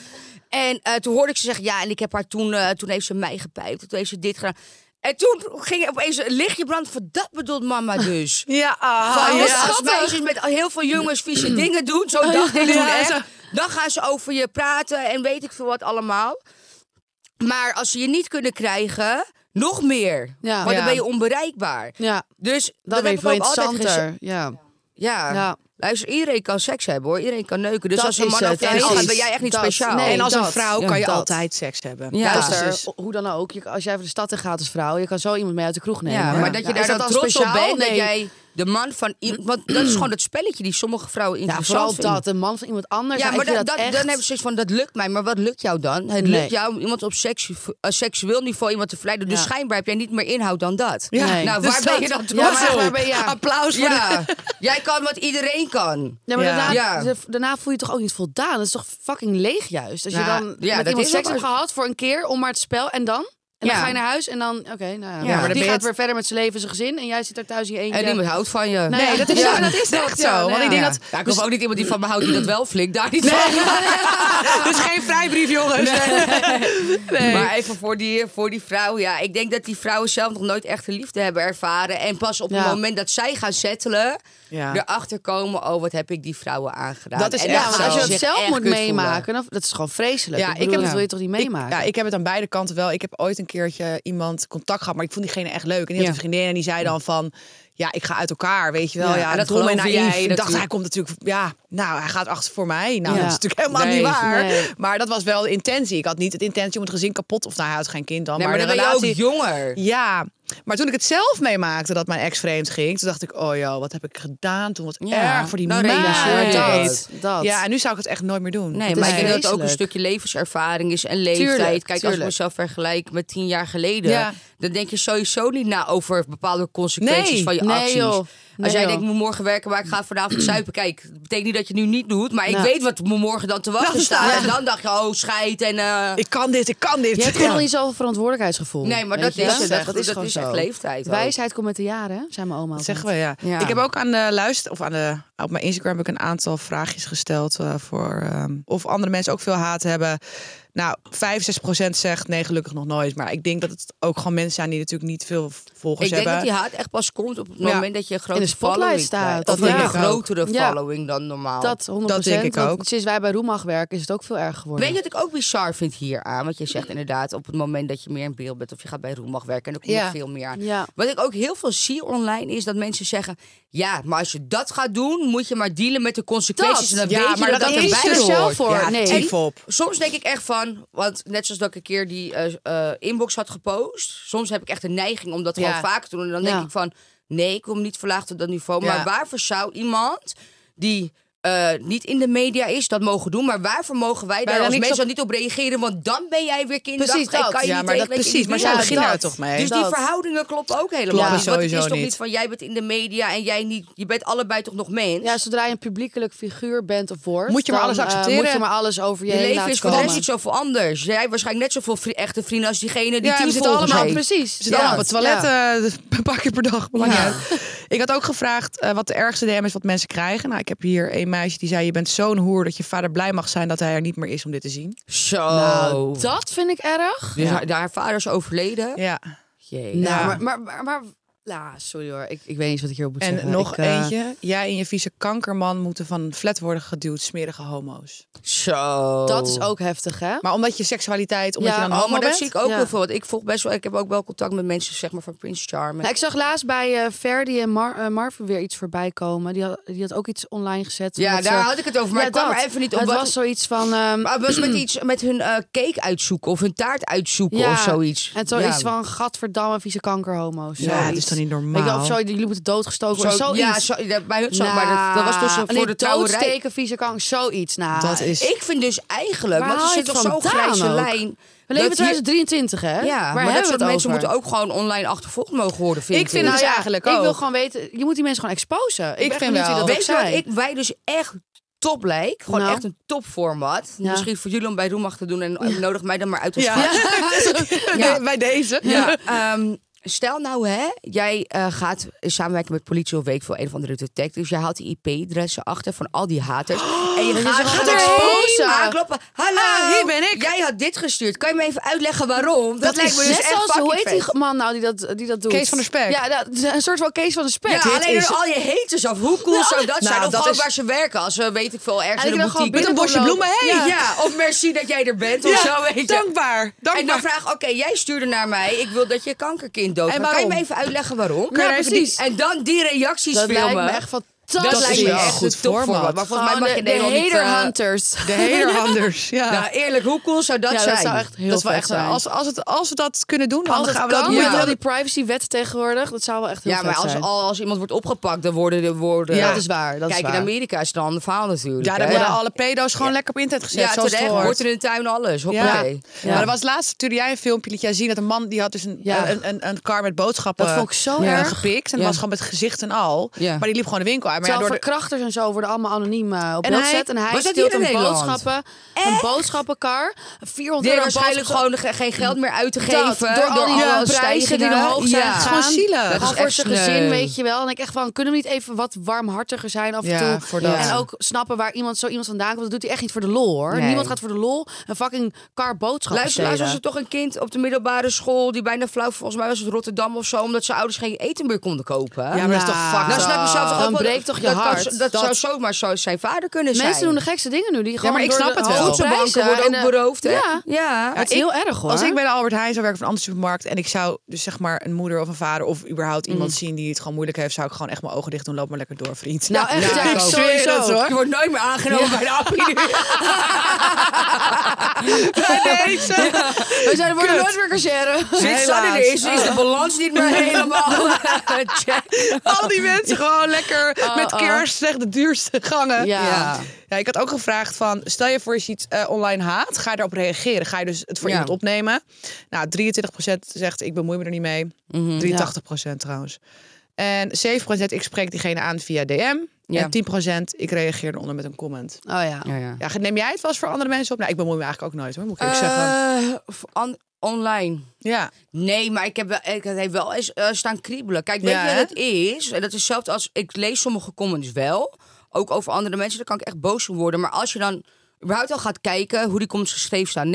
Speaker 6: En eh, toen hoorde ik ze zeggen, ja, en ik heb haar toen... eh, toen heeft ze mij gepijpt, toen heeft ze dit gedaan... En toen ging er opeens een lichtje branden van dat bedoelt mama dus.
Speaker 3: Ja, ah,
Speaker 4: Oh,
Speaker 6: Van,
Speaker 3: ja.
Speaker 6: als als meisjes met heel veel jongens vieze dingen doen, zo dacht ik toen echt. Dan gaan ze over je praten en weet ik veel wat allemaal. Maar als ze je niet kunnen krijgen, nog meer.
Speaker 4: Ja.
Speaker 6: Want
Speaker 3: Ja.
Speaker 6: dan ben je onbereikbaar.
Speaker 4: Ja,
Speaker 6: Dus dat,
Speaker 4: dat
Speaker 6: heb
Speaker 4: ben je
Speaker 6: ik
Speaker 4: veel
Speaker 6: ook altijd gezegd.
Speaker 4: interessanter. Ja.
Speaker 6: Ja.
Speaker 4: Ja.
Speaker 6: Luister, iedereen kan seks hebben hoor. Iedereen kan neuken. Dus
Speaker 4: Dat
Speaker 6: als een
Speaker 4: is
Speaker 6: man
Speaker 4: het.
Speaker 6: over je heen
Speaker 4: Precies.
Speaker 6: gaat, ben jij echt niet
Speaker 4: Dat.
Speaker 6: speciaal.
Speaker 4: Nee,
Speaker 3: En als een
Speaker 4: dat.
Speaker 3: vrouw
Speaker 4: Ja,
Speaker 3: kan je
Speaker 4: dat.
Speaker 3: altijd seks hebben.
Speaker 6: Ja.
Speaker 4: Luister,
Speaker 3: Dus-
Speaker 4: o- eh, hoe dan ook. je- als jij even de stad in gaat als vrouw, je kan zo iemand mee uit de kroeg nemen.
Speaker 6: Ja,
Speaker 4: hoor.
Speaker 6: maar dat je
Speaker 4: Ja, is
Speaker 6: daar dan
Speaker 4: dan
Speaker 6: trots op
Speaker 4: speciaal?
Speaker 6: bent dat
Speaker 4: Nee.
Speaker 6: jij de man van... i-
Speaker 4: (clears throat)
Speaker 6: Want dat is gewoon het spelletje die sommige vrouwen
Speaker 4: Ja,
Speaker 6: interessant
Speaker 4: vooral
Speaker 6: vinden.
Speaker 4: dat. Een man van iemand anders.
Speaker 6: Ja, maar
Speaker 4: ik vind
Speaker 6: dat, dat-
Speaker 4: echt-
Speaker 6: dan hebben ze zoiets van, dat lukt mij. Maar wat lukt jou dan? Het
Speaker 4: Nee.
Speaker 6: lukt jou om iemand op seksu- eh, seksueel niveau iemand te verleiden. Dus
Speaker 4: Ja.
Speaker 6: schijnbaar heb jij niet meer inhoud dan dat.
Speaker 3: Ja.
Speaker 4: Nee.
Speaker 6: Nou,
Speaker 3: Dus
Speaker 6: waar
Speaker 3: dat-
Speaker 6: ben je dan
Speaker 4: Ja, maar
Speaker 6: trots
Speaker 4: echt,
Speaker 6: op?
Speaker 4: waar ben je- ja.
Speaker 3: (laughs) Applaus voor
Speaker 6: Ja, (laughs) jij kan wat iedereen kan.
Speaker 4: Ja, maar
Speaker 3: Ja.
Speaker 4: Daarna,
Speaker 6: Ja.
Speaker 4: da- daarna voel je je toch ook niet voldaan. Dat is toch fucking leeg juist. Als je
Speaker 6: Ja,
Speaker 4: dan
Speaker 6: ja,
Speaker 4: met
Speaker 6: dat
Speaker 4: iemand
Speaker 6: is
Speaker 4: seks
Speaker 6: ook
Speaker 4: hebt gehad voor een keer om maar het spel en dan? En dan
Speaker 6: Ja.
Speaker 4: ga je naar huis en dan, oké, nou ja.
Speaker 6: Ja, maar dan
Speaker 4: die
Speaker 3: ben je
Speaker 4: gaat
Speaker 3: het-
Speaker 4: weer verder met zijn leven, zijn gezin. En jij zit daar thuis in je eentje.
Speaker 6: En niemand houdt van je.
Speaker 4: Nou ja,
Speaker 3: Nee, dat is,
Speaker 4: ja.
Speaker 3: zo, dat is echt zo.
Speaker 4: Ja,
Speaker 3: Want
Speaker 4: nou
Speaker 3: ik denk
Speaker 6: Ja.
Speaker 3: dat...
Speaker 6: Ja, ik hoef ook niet iemand die van me houdt die dat wel flikt. Daar niet van.
Speaker 3: (laughs) Dus geen vrijbrief, jongens.
Speaker 6: Maar even voor die, voor die vrouw. Ja, ik denk dat die vrouwen zelf nog nooit echte liefde hebben ervaren. En pas op het
Speaker 4: Ja.
Speaker 6: moment dat zij gaan settelen,
Speaker 3: Ja.
Speaker 6: erachter komen: oh, wat heb ik die vrouwen aangedaan?
Speaker 3: Dat is
Speaker 6: En
Speaker 3: echt
Speaker 4: Ja, maar
Speaker 3: zo.
Speaker 4: als je
Speaker 6: zich
Speaker 4: dat zelf
Speaker 6: echt
Speaker 4: moet
Speaker 6: kut
Speaker 4: meemaken, dan, dat is gewoon vreselijk.
Speaker 3: Ja,
Speaker 4: Ja,
Speaker 3: ik
Speaker 4: ik bedoel,
Speaker 3: heb-
Speaker 4: dat wil je toch niet
Speaker 3: Ik,
Speaker 4: meemaken?
Speaker 3: ja, ik heb het aan beide kanten wel. Ik heb ooit een keertje iemand contact gehad, maar ik vond diegene echt leuk. En die had
Speaker 6: Ja.
Speaker 3: een vriendin en die zei dan van... Ja, ik ga uit elkaar, weet je wel. Ja,
Speaker 6: Ja,
Speaker 3: en
Speaker 6: en dat
Speaker 3: dom en
Speaker 6: geloof je
Speaker 3: naïef.
Speaker 6: je
Speaker 3: Ik dacht,
Speaker 6: natuurlijk.
Speaker 3: hij komt natuurlijk... Ja, nou, hij gaat achter voor mij. Nou,
Speaker 4: Ja.
Speaker 3: dat is natuurlijk helemaal
Speaker 6: Nee,
Speaker 3: niet waar.
Speaker 4: nee.
Speaker 3: Maar dat was wel de intentie. Ik had niet het intentie om het gezin kapot... Of nou, hij had geen kind dan,
Speaker 6: Nee,
Speaker 3: maar,
Speaker 6: maar dan
Speaker 3: de
Speaker 6: ben je
Speaker 3: relatie...
Speaker 6: ook jonger.
Speaker 3: Ja, maar toen ik het zelf meemaakte dat mijn ex vreemd ging, toen dacht ik, oh joh, wat heb ik gedaan toen? Wat
Speaker 6: Ja,
Speaker 3: erg voor die
Speaker 6: nou,
Speaker 3: meid.
Speaker 6: nee, ja,
Speaker 4: Maar
Speaker 6: Nee.
Speaker 4: dat, dat.
Speaker 3: Ja, en nu zou ik het echt nooit meer doen.
Speaker 6: Nee,
Speaker 4: Het
Speaker 6: maar
Speaker 4: is
Speaker 6: ik denk dat het ook een
Speaker 4: vreselijk.
Speaker 6: stukje levenservaring is en leeftijd.
Speaker 4: Tuurlijk,
Speaker 6: Kijk, als
Speaker 4: tuurlijk.
Speaker 6: ik mezelf vergelijk met tien jaar geleden,
Speaker 3: Ja.
Speaker 6: dan denk je sowieso niet na over bepaalde consequenties
Speaker 3: Nee,
Speaker 6: van je
Speaker 4: nee,
Speaker 6: acties.
Speaker 4: joh. Nee,
Speaker 6: als jij
Speaker 4: joh.
Speaker 6: denkt, ik moet morgen werken, maar ik ga vanavond zuipen. Kijk, dat betekent niet dat je het nu niet doet, maar ik
Speaker 4: Nou.
Speaker 6: weet wat me morgen dan te wachten
Speaker 3: Nou,
Speaker 6: staat.
Speaker 3: ja.
Speaker 6: En dan dacht je, oh, scheid en... eh,
Speaker 3: Ik kan dit, ik kan dit.
Speaker 4: Je hebt
Speaker 3: (laughs) Ja.
Speaker 4: gewoon al niet zoveel verantwoordelijkheidsgevoel.
Speaker 6: nee, maar
Speaker 4: weet
Speaker 6: dat
Speaker 4: je?
Speaker 6: is,
Speaker 3: zeg,
Speaker 6: het. dat,
Speaker 3: dat
Speaker 6: dat
Speaker 3: is
Speaker 6: is,
Speaker 3: gewoon zo.
Speaker 6: echt leeftijd. ook.
Speaker 4: Wijsheid komt met de jaren, hè? zei mijn oma.
Speaker 3: Dat
Speaker 4: altijd.
Speaker 3: zeggen we, ja.
Speaker 6: Ja.
Speaker 3: Ik heb ook aan de luister, of aan de, op mijn Instagram heb ik een aantal vraagjes gesteld eh, voor ehm, of andere mensen ook veel haat hebben. Nou, 65% zegt nee, gelukkig nog nooit. Maar ik denk dat het ook gewoon mensen zijn die natuurlijk niet veel volgers
Speaker 6: Ik denk dat
Speaker 3: hebben.
Speaker 6: die haat echt pas komt op het
Speaker 3: Ja.
Speaker 6: moment dat je een grote
Speaker 4: de spotlight
Speaker 6: following
Speaker 4: staat.
Speaker 6: krijgt.
Speaker 4: Dat
Speaker 6: Of een
Speaker 3: denk ik ook.
Speaker 6: grotere
Speaker 4: Ja.
Speaker 6: following dan normaal.
Speaker 4: Dat 100%.
Speaker 3: Dat denk ik
Speaker 4: want
Speaker 3: ook.
Speaker 4: Sinds wij bij Roemag werken is het ook veel erger geworden.
Speaker 6: Weet je wat ik ook bizar vind hier aan? Want je zegt inderdaad, op het moment dat je meer in beeld bent of je gaat bij Roem mag werken, en dan kom je
Speaker 3: Ja.
Speaker 6: veel meer aan.
Speaker 4: Ja.
Speaker 6: Wat ik ook heel veel zie online is dat mensen zeggen: ja, maar als je dat gaat doen, moet je maar dealen met de consequenties. en dan
Speaker 3: ja,
Speaker 6: weet
Speaker 3: maar
Speaker 6: je dat
Speaker 3: dat
Speaker 6: dat,
Speaker 3: is dus
Speaker 6: erbij
Speaker 4: er
Speaker 6: hoort.
Speaker 4: zelf voor.
Speaker 3: Ja,
Speaker 4: Nee.
Speaker 3: tief op.
Speaker 6: Soms denk ik echt van, want net zoals dat ik een keer die eh, eh, inbox had gepost, soms heb ik echt een neiging om dat
Speaker 3: Ja.
Speaker 6: gewoon vaak te doen. En dan denk
Speaker 4: Ja.
Speaker 6: ik van, nee, ik kom niet verlaagd op dat niveau.
Speaker 3: Ja.
Speaker 6: Maar waarvoor zou iemand die eh, niet in de media is dat mogen doen? Maar waarvoor mogen wij daar
Speaker 3: daar
Speaker 6: als
Speaker 3: niks
Speaker 6: mensen
Speaker 3: op-
Speaker 6: dan niet op reageren? Want dan ben jij weer kinderachtig.
Speaker 4: Precies, dat.
Speaker 6: en kan je
Speaker 3: Ja,
Speaker 6: niet
Speaker 3: maar dat
Speaker 6: tegen wat je
Speaker 3: precies.
Speaker 6: niet
Speaker 3: Maar
Speaker 6: wil.
Speaker 3: zo beginnen
Speaker 4: dat.
Speaker 3: uit toch mee.
Speaker 6: Dus die
Speaker 4: dat.
Speaker 6: verhoudingen kloppen ook helemaal
Speaker 3: Kloppen
Speaker 6: niet. Want het is
Speaker 3: sowieso
Speaker 6: toch
Speaker 3: niet.
Speaker 6: niet van jij bent in de media en jij niet. Je bent allebei toch nog mens.
Speaker 4: Ja, zodra je een publiekelijk figuur bent of wordt...
Speaker 3: Moet je maar
Speaker 4: dan,
Speaker 3: alles
Speaker 4: eh,
Speaker 3: accepteren.
Speaker 4: moet je maar alles over je,
Speaker 6: je
Speaker 4: heen
Speaker 6: leven
Speaker 4: laten
Speaker 6: is voor de rest
Speaker 4: komen.
Speaker 6: niet zoveel anders. Jij hebt waarschijnlijk net zoveel vri- echte vrienden als diegene die
Speaker 3: Ja, we
Speaker 6: tien
Speaker 3: zitten
Speaker 6: volgers
Speaker 3: allemaal
Speaker 6: heeft.
Speaker 4: Precies.
Speaker 3: Ze zitten
Speaker 6: Ja.
Speaker 3: allemaal op het
Speaker 4: Ja.
Speaker 3: toilet, eh, (laughs) een paar keer per dag. maakt niet uit. Ik had ook gevraagd eh, wat de ergste DM is wat mensen krijgen. Nou, ik heb hier een meisje die zei: Je bent zo'n hoer dat je vader blij mag zijn dat hij er niet meer is om dit te zien.
Speaker 6: Zo.
Speaker 4: Nou, dat vind ik erg.
Speaker 6: Dus haar, haar vader is overleden.
Speaker 3: Ja,
Speaker 6: Jee.
Speaker 4: Nou,
Speaker 3: Ja.
Speaker 4: maar, maar, maar, maar- nou, sorry hoor. Ik, ik weet niet eens wat ik hierop moet
Speaker 3: en
Speaker 4: zeggen.
Speaker 3: nog
Speaker 4: Ik, eh,
Speaker 3: eentje. Jij en je vieze kankerman moeten van flat worden geduwd, smerige homo's.
Speaker 6: Zo.
Speaker 4: Dat is ook heftig, hè?
Speaker 3: Maar omdat je seksualiteit, omdat
Speaker 4: Ja,
Speaker 3: je dan
Speaker 6: Oh,
Speaker 3: homo
Speaker 6: maar dat
Speaker 3: bent.
Speaker 6: zie ik ook
Speaker 4: Ja.
Speaker 6: heel veel. Want ik volg best wel. Ik heb ook wel contact met mensen zeg maar, van Prince Charming.
Speaker 4: Nou, ik zag laatst bij eh, Ferdi en Mar eh, Marvin weer iets voorbij komen. Die had, die had ook iets online gezet.
Speaker 6: ja,
Speaker 4: omdat ze-
Speaker 6: daar had ik het over. Maar
Speaker 4: Ja,
Speaker 6: ik kwam
Speaker 4: dat.
Speaker 6: er even niet op.
Speaker 4: Het
Speaker 6: wat-
Speaker 4: was zoiets van... ehm,
Speaker 6: Maar het was
Speaker 4: (clears throat)
Speaker 6: met iets met hun eh, cake uitzoeken of hun taart uitzoeken
Speaker 4: ja,
Speaker 6: of zoiets.
Speaker 4: En zoiets van, gadverdamme, vieze kankerhomo's.
Speaker 3: Ja, dat
Speaker 4: zoiets.
Speaker 3: is toch niet
Speaker 4: Weet je,
Speaker 3: normaal.
Speaker 4: of zo, jullie moeten doodgestoken
Speaker 6: Zo,
Speaker 4: worden. Zoiets.
Speaker 6: ja, zo, ja, bij hun zo, maar dat, dat was
Speaker 4: Nou,
Speaker 6: tussen voor
Speaker 4: nee,
Speaker 6: de trouwerij.
Speaker 4: doodsteken, vieze kanker, zoiets. Nou,
Speaker 3: Dat is.
Speaker 6: Ik vind dus eigenlijk,
Speaker 4: Waar
Speaker 6: want er
Speaker 4: haal je
Speaker 6: zit
Speaker 4: het
Speaker 6: toch zo'n
Speaker 4: vandaan
Speaker 6: grijze
Speaker 4: ook?
Speaker 6: lijn.
Speaker 4: We leven in
Speaker 6: dat hier-
Speaker 4: 2023, hè?
Speaker 6: Ja,
Speaker 4: hebben
Speaker 6: maar dat
Speaker 4: we
Speaker 6: soort
Speaker 4: het
Speaker 6: mensen
Speaker 4: over? Nou
Speaker 6: moeten ook gewoon online achtervolgd mogen worden, vind ik. Nou,
Speaker 3: Ik vind het dus eigenlijk
Speaker 4: ik
Speaker 3: ook.
Speaker 4: wil gewoon weten, je moet die mensen gewoon exposen. Ik,
Speaker 3: Ik
Speaker 4: ben
Speaker 3: vind
Speaker 4: benieuwd wie
Speaker 3: wel.
Speaker 4: dat ook
Speaker 6: Weet je wat
Speaker 4: zijn.
Speaker 6: ik, wij dus echt top lijkt? Gewoon
Speaker 4: Nou.
Speaker 6: echt een topformat.
Speaker 4: Ja.
Speaker 6: Misschien voor jullie om bij Roemag te doen en eh, nodig mij dan maar uit als
Speaker 3: Ja.
Speaker 6: gast.
Speaker 4: (laughs)
Speaker 3: Nee, bij deze. (laughs)
Speaker 6: Ja, ehm, stel nou, hè, jij eh, gaat samenwerken met politie of weet ik veel, een van de detectives. Jij haalt die IP-adressen achter van al die haters. en je gaat,
Speaker 4: Oh, dus gaat er
Speaker 6: gewoon
Speaker 4: exposen.
Speaker 6: aankloppen. Hallo,
Speaker 3: Ah, hier ben ik.
Speaker 6: Jij had dit gestuurd. Kan je me even uitleggen waarom? Dat, lijkt me dus
Speaker 4: Net
Speaker 6: echt
Speaker 4: zoals,
Speaker 6: fucking
Speaker 4: hoe heet
Speaker 6: vet.
Speaker 4: die man nou die dat, die dat doet?
Speaker 3: Kees van der Spek.
Speaker 4: Ja, dat, een soort van Kees van der Spek.
Speaker 6: Ja,
Speaker 4: Dit
Speaker 6: alleen
Speaker 4: is-
Speaker 6: door al je haters af. Hoe cool zou dat zijn? Of
Speaker 3: dat
Speaker 6: gewoon
Speaker 3: is-
Speaker 6: waar ze werken. Als ze, weet ik veel, ergens
Speaker 4: En
Speaker 6: in
Speaker 4: ik
Speaker 6: een
Speaker 4: dan gewoon
Speaker 6: boutique.
Speaker 3: Met een bosje bloemen heen.
Speaker 6: Ja. ja, of merci dat jij er bent of zo, weet je.
Speaker 3: dankbaar.
Speaker 6: En dan
Speaker 3: Dankbaar.
Speaker 6: vraag, oké, jij stuurde naar mij. Ik wil dat je kankerkind doodgaat.
Speaker 3: En
Speaker 6: Kan je
Speaker 3: waarom?
Speaker 6: me even uitleggen waarom?
Speaker 3: Kan je Ja, even die- precies.
Speaker 6: En dan die reacties
Speaker 4: dat
Speaker 6: filmen.
Speaker 4: lijkt me echt fantastisch.
Speaker 6: dat, lijkt me
Speaker 3: wel
Speaker 6: echt
Speaker 3: goed
Speaker 6: een topformat.
Speaker 3: format.
Speaker 6: Maar volgens mij
Speaker 4: Gewoon
Speaker 6: mag je
Speaker 4: de, de
Speaker 6: Nederland niet...
Speaker 4: hater
Speaker 6: eh,
Speaker 4: hunters.
Speaker 3: De hele (laughs) anders. Ja.
Speaker 6: nou, eerlijk, hoe cool zou dat
Speaker 4: ja,
Speaker 6: zijn?
Speaker 4: dat zou echt heel
Speaker 3: dat is wel
Speaker 4: vet
Speaker 3: echt.
Speaker 4: zijn.
Speaker 3: Als, als, het, als we dat kunnen doen, dan
Speaker 4: Als
Speaker 3: gaan
Speaker 4: het
Speaker 3: we dat
Speaker 4: kan,
Speaker 3: doen.
Speaker 4: met
Speaker 6: Ja.
Speaker 4: al die privacywet tegenwoordig, dat zou wel echt heel
Speaker 6: ja, maar
Speaker 4: vet
Speaker 6: als,
Speaker 4: zijn.
Speaker 6: al- als iemand wordt opgepakt, dan worden de woorden...
Speaker 3: Ja,
Speaker 4: dat is waar, dat is
Speaker 6: Kijk,
Speaker 4: waar.
Speaker 6: in Amerika is het een ander verhaal natuurlijk.
Speaker 3: Ja, daar
Speaker 6: hè?
Speaker 3: worden alle pedo's gewoon lekker op internet gezet.
Speaker 6: Ja,
Speaker 3: zoals het
Speaker 6: terecht.
Speaker 3: hoort.
Speaker 6: Wordt er in de tuin alles.
Speaker 3: Ja.
Speaker 6: Hoppakee.
Speaker 4: dus- Ja.
Speaker 3: Maar er was laatst stuurde jij een filmpje liet jij zien dat een man die had dus een,
Speaker 4: Ja.
Speaker 3: een, een, een kar met boodschappen
Speaker 4: Dat vond ik zo
Speaker 3: eh,
Speaker 4: erg.
Speaker 3: gepikt en dat
Speaker 6: Ja.
Speaker 3: was gewoon met gezicht en al.
Speaker 6: Ja.
Speaker 3: Maar die liep gewoon de winkel uit Maar ja,
Speaker 4: Terwijl
Speaker 3: door de-
Speaker 4: verkrachters en zo worden allemaal anoniem eh, op
Speaker 6: En
Speaker 4: beeld
Speaker 6: hij-
Speaker 4: gezet. En hij
Speaker 6: was dat
Speaker 4: steelt
Speaker 6: hier in
Speaker 4: een
Speaker 6: Nederland?
Speaker 4: boodschappen, een boodschappenkar. 400
Speaker 6: Die
Speaker 4: euro
Speaker 6: waarschijnlijk
Speaker 4: boodschappen-
Speaker 6: gewoon ge- geen geld meer uit te
Speaker 4: Dat,
Speaker 6: geven.
Speaker 4: door al die
Speaker 6: alle
Speaker 4: prijzen die
Speaker 6: stijgingen.
Speaker 4: omhoog zijn
Speaker 6: Ja.
Speaker 3: Het is gewoon zielig.
Speaker 6: Dat is
Speaker 4: Gewoon voor
Speaker 6: echt
Speaker 4: zijn
Speaker 6: sneu.
Speaker 4: gezin, weet je wel. En ik echt van, kunnen we niet even wat warmhartiger zijn af en
Speaker 3: Ja,
Speaker 4: toe?
Speaker 3: voor dat.
Speaker 4: En ook snappen waar iemand zo iemand vandaan komt. Dat doet hij echt niet voor de lol, hoor.
Speaker 6: Nee.
Speaker 4: Niemand gaat voor de lol een fucking kar boodschappen
Speaker 6: Luister, laatst was er
Speaker 4: stelen.
Speaker 6: toch een kind op de middelbare school die bijna flauw, volgens mij was het Rotterdam of zo, omdat zijn ouders geen eten meer konden kopen.
Speaker 3: Ja, maar dat is toch
Speaker 4: Nou,
Speaker 3: fucked
Speaker 6: dan
Speaker 3: up?
Speaker 6: snap je zelf toch
Speaker 4: Dan
Speaker 6: ook wel-
Speaker 4: breekt toch je
Speaker 6: dat kan
Speaker 4: hart.
Speaker 6: zo- dat,
Speaker 4: Dat-
Speaker 6: zou zomaar zo zijn vader kunnen zijn.
Speaker 4: Mensen doen de gekste dingen nu. Die gewoon
Speaker 3: maar ik
Speaker 4: door
Speaker 3: snap
Speaker 4: de
Speaker 3: het wel.
Speaker 4: hoge
Speaker 6: voedselbanken
Speaker 4: prijzen
Speaker 6: worden
Speaker 4: en,
Speaker 6: ook
Speaker 4: eh,
Speaker 6: beroofd, hè?
Speaker 4: Ja.
Speaker 6: ja.
Speaker 4: Het is
Speaker 3: ik-
Speaker 4: heel erg, hoor.
Speaker 3: Als ik bij de Albert Heijn zou werken van een andere supermarkt en ik zou dus zeg maar een moeder of een vader of überhaupt
Speaker 4: Mm.
Speaker 3: iemand zien die het gewoon moeilijk heeft, zou ik gewoon echt mijn ogen dicht doen. Loop maar lekker door, vriend.
Speaker 4: Nou, echt, ja,
Speaker 3: ik
Speaker 4: ik
Speaker 3: zweer
Speaker 4: sowieso.
Speaker 3: het, hoor.
Speaker 6: Je wordt nooit meer aangenomen bij de appie.
Speaker 3: Nee, zo.
Speaker 4: We zijn voor
Speaker 3: Kut.
Speaker 4: nooit meer kasseren.
Speaker 6: Zit Sanne er is, is de balans niet
Speaker 4: (laughs)
Speaker 3: (laughs)
Speaker 6: meer helemaal. (laughs) Check.
Speaker 3: Al die mensen gewoon lekker met
Speaker 4: oh.
Speaker 3: kerst, zeg de duurste gangen.
Speaker 4: Ja.
Speaker 3: Ja. Ja, ik had ook gevraagd van, stel je voor je ziet eh, online haat, ga je daarop reageren? Ga je dus het voor
Speaker 6: Ja.
Speaker 3: iemand opnemen? Nou, 23% zegt, ik bemoei me er niet mee. 83% trouwens. En 7% ik spreek diegene aan via DM.
Speaker 6: Ja.
Speaker 3: En 10% ik reageer eronder met een comment.
Speaker 4: Oh ja.
Speaker 3: Ja, neem jij het wel eens voor andere mensen op? Nou, ik bemoei me eigenlijk ook nooit hoor, moet ik eerlijk zeggen.
Speaker 4: Eh,
Speaker 6: online.
Speaker 3: Ja.
Speaker 6: Nee, maar ik heb wel, ik heb wel eens eh, staan kriebelen. Kijk, weet
Speaker 3: Ja,
Speaker 6: je
Speaker 3: hè?
Speaker 6: wat het is? En dat is hetzelfde als ik lees sommige comments wel. Ook over andere mensen, dan kan ik echt boos van worden. Maar als je dan überhaupt al gaat kijken hoe die comments geschreven staan.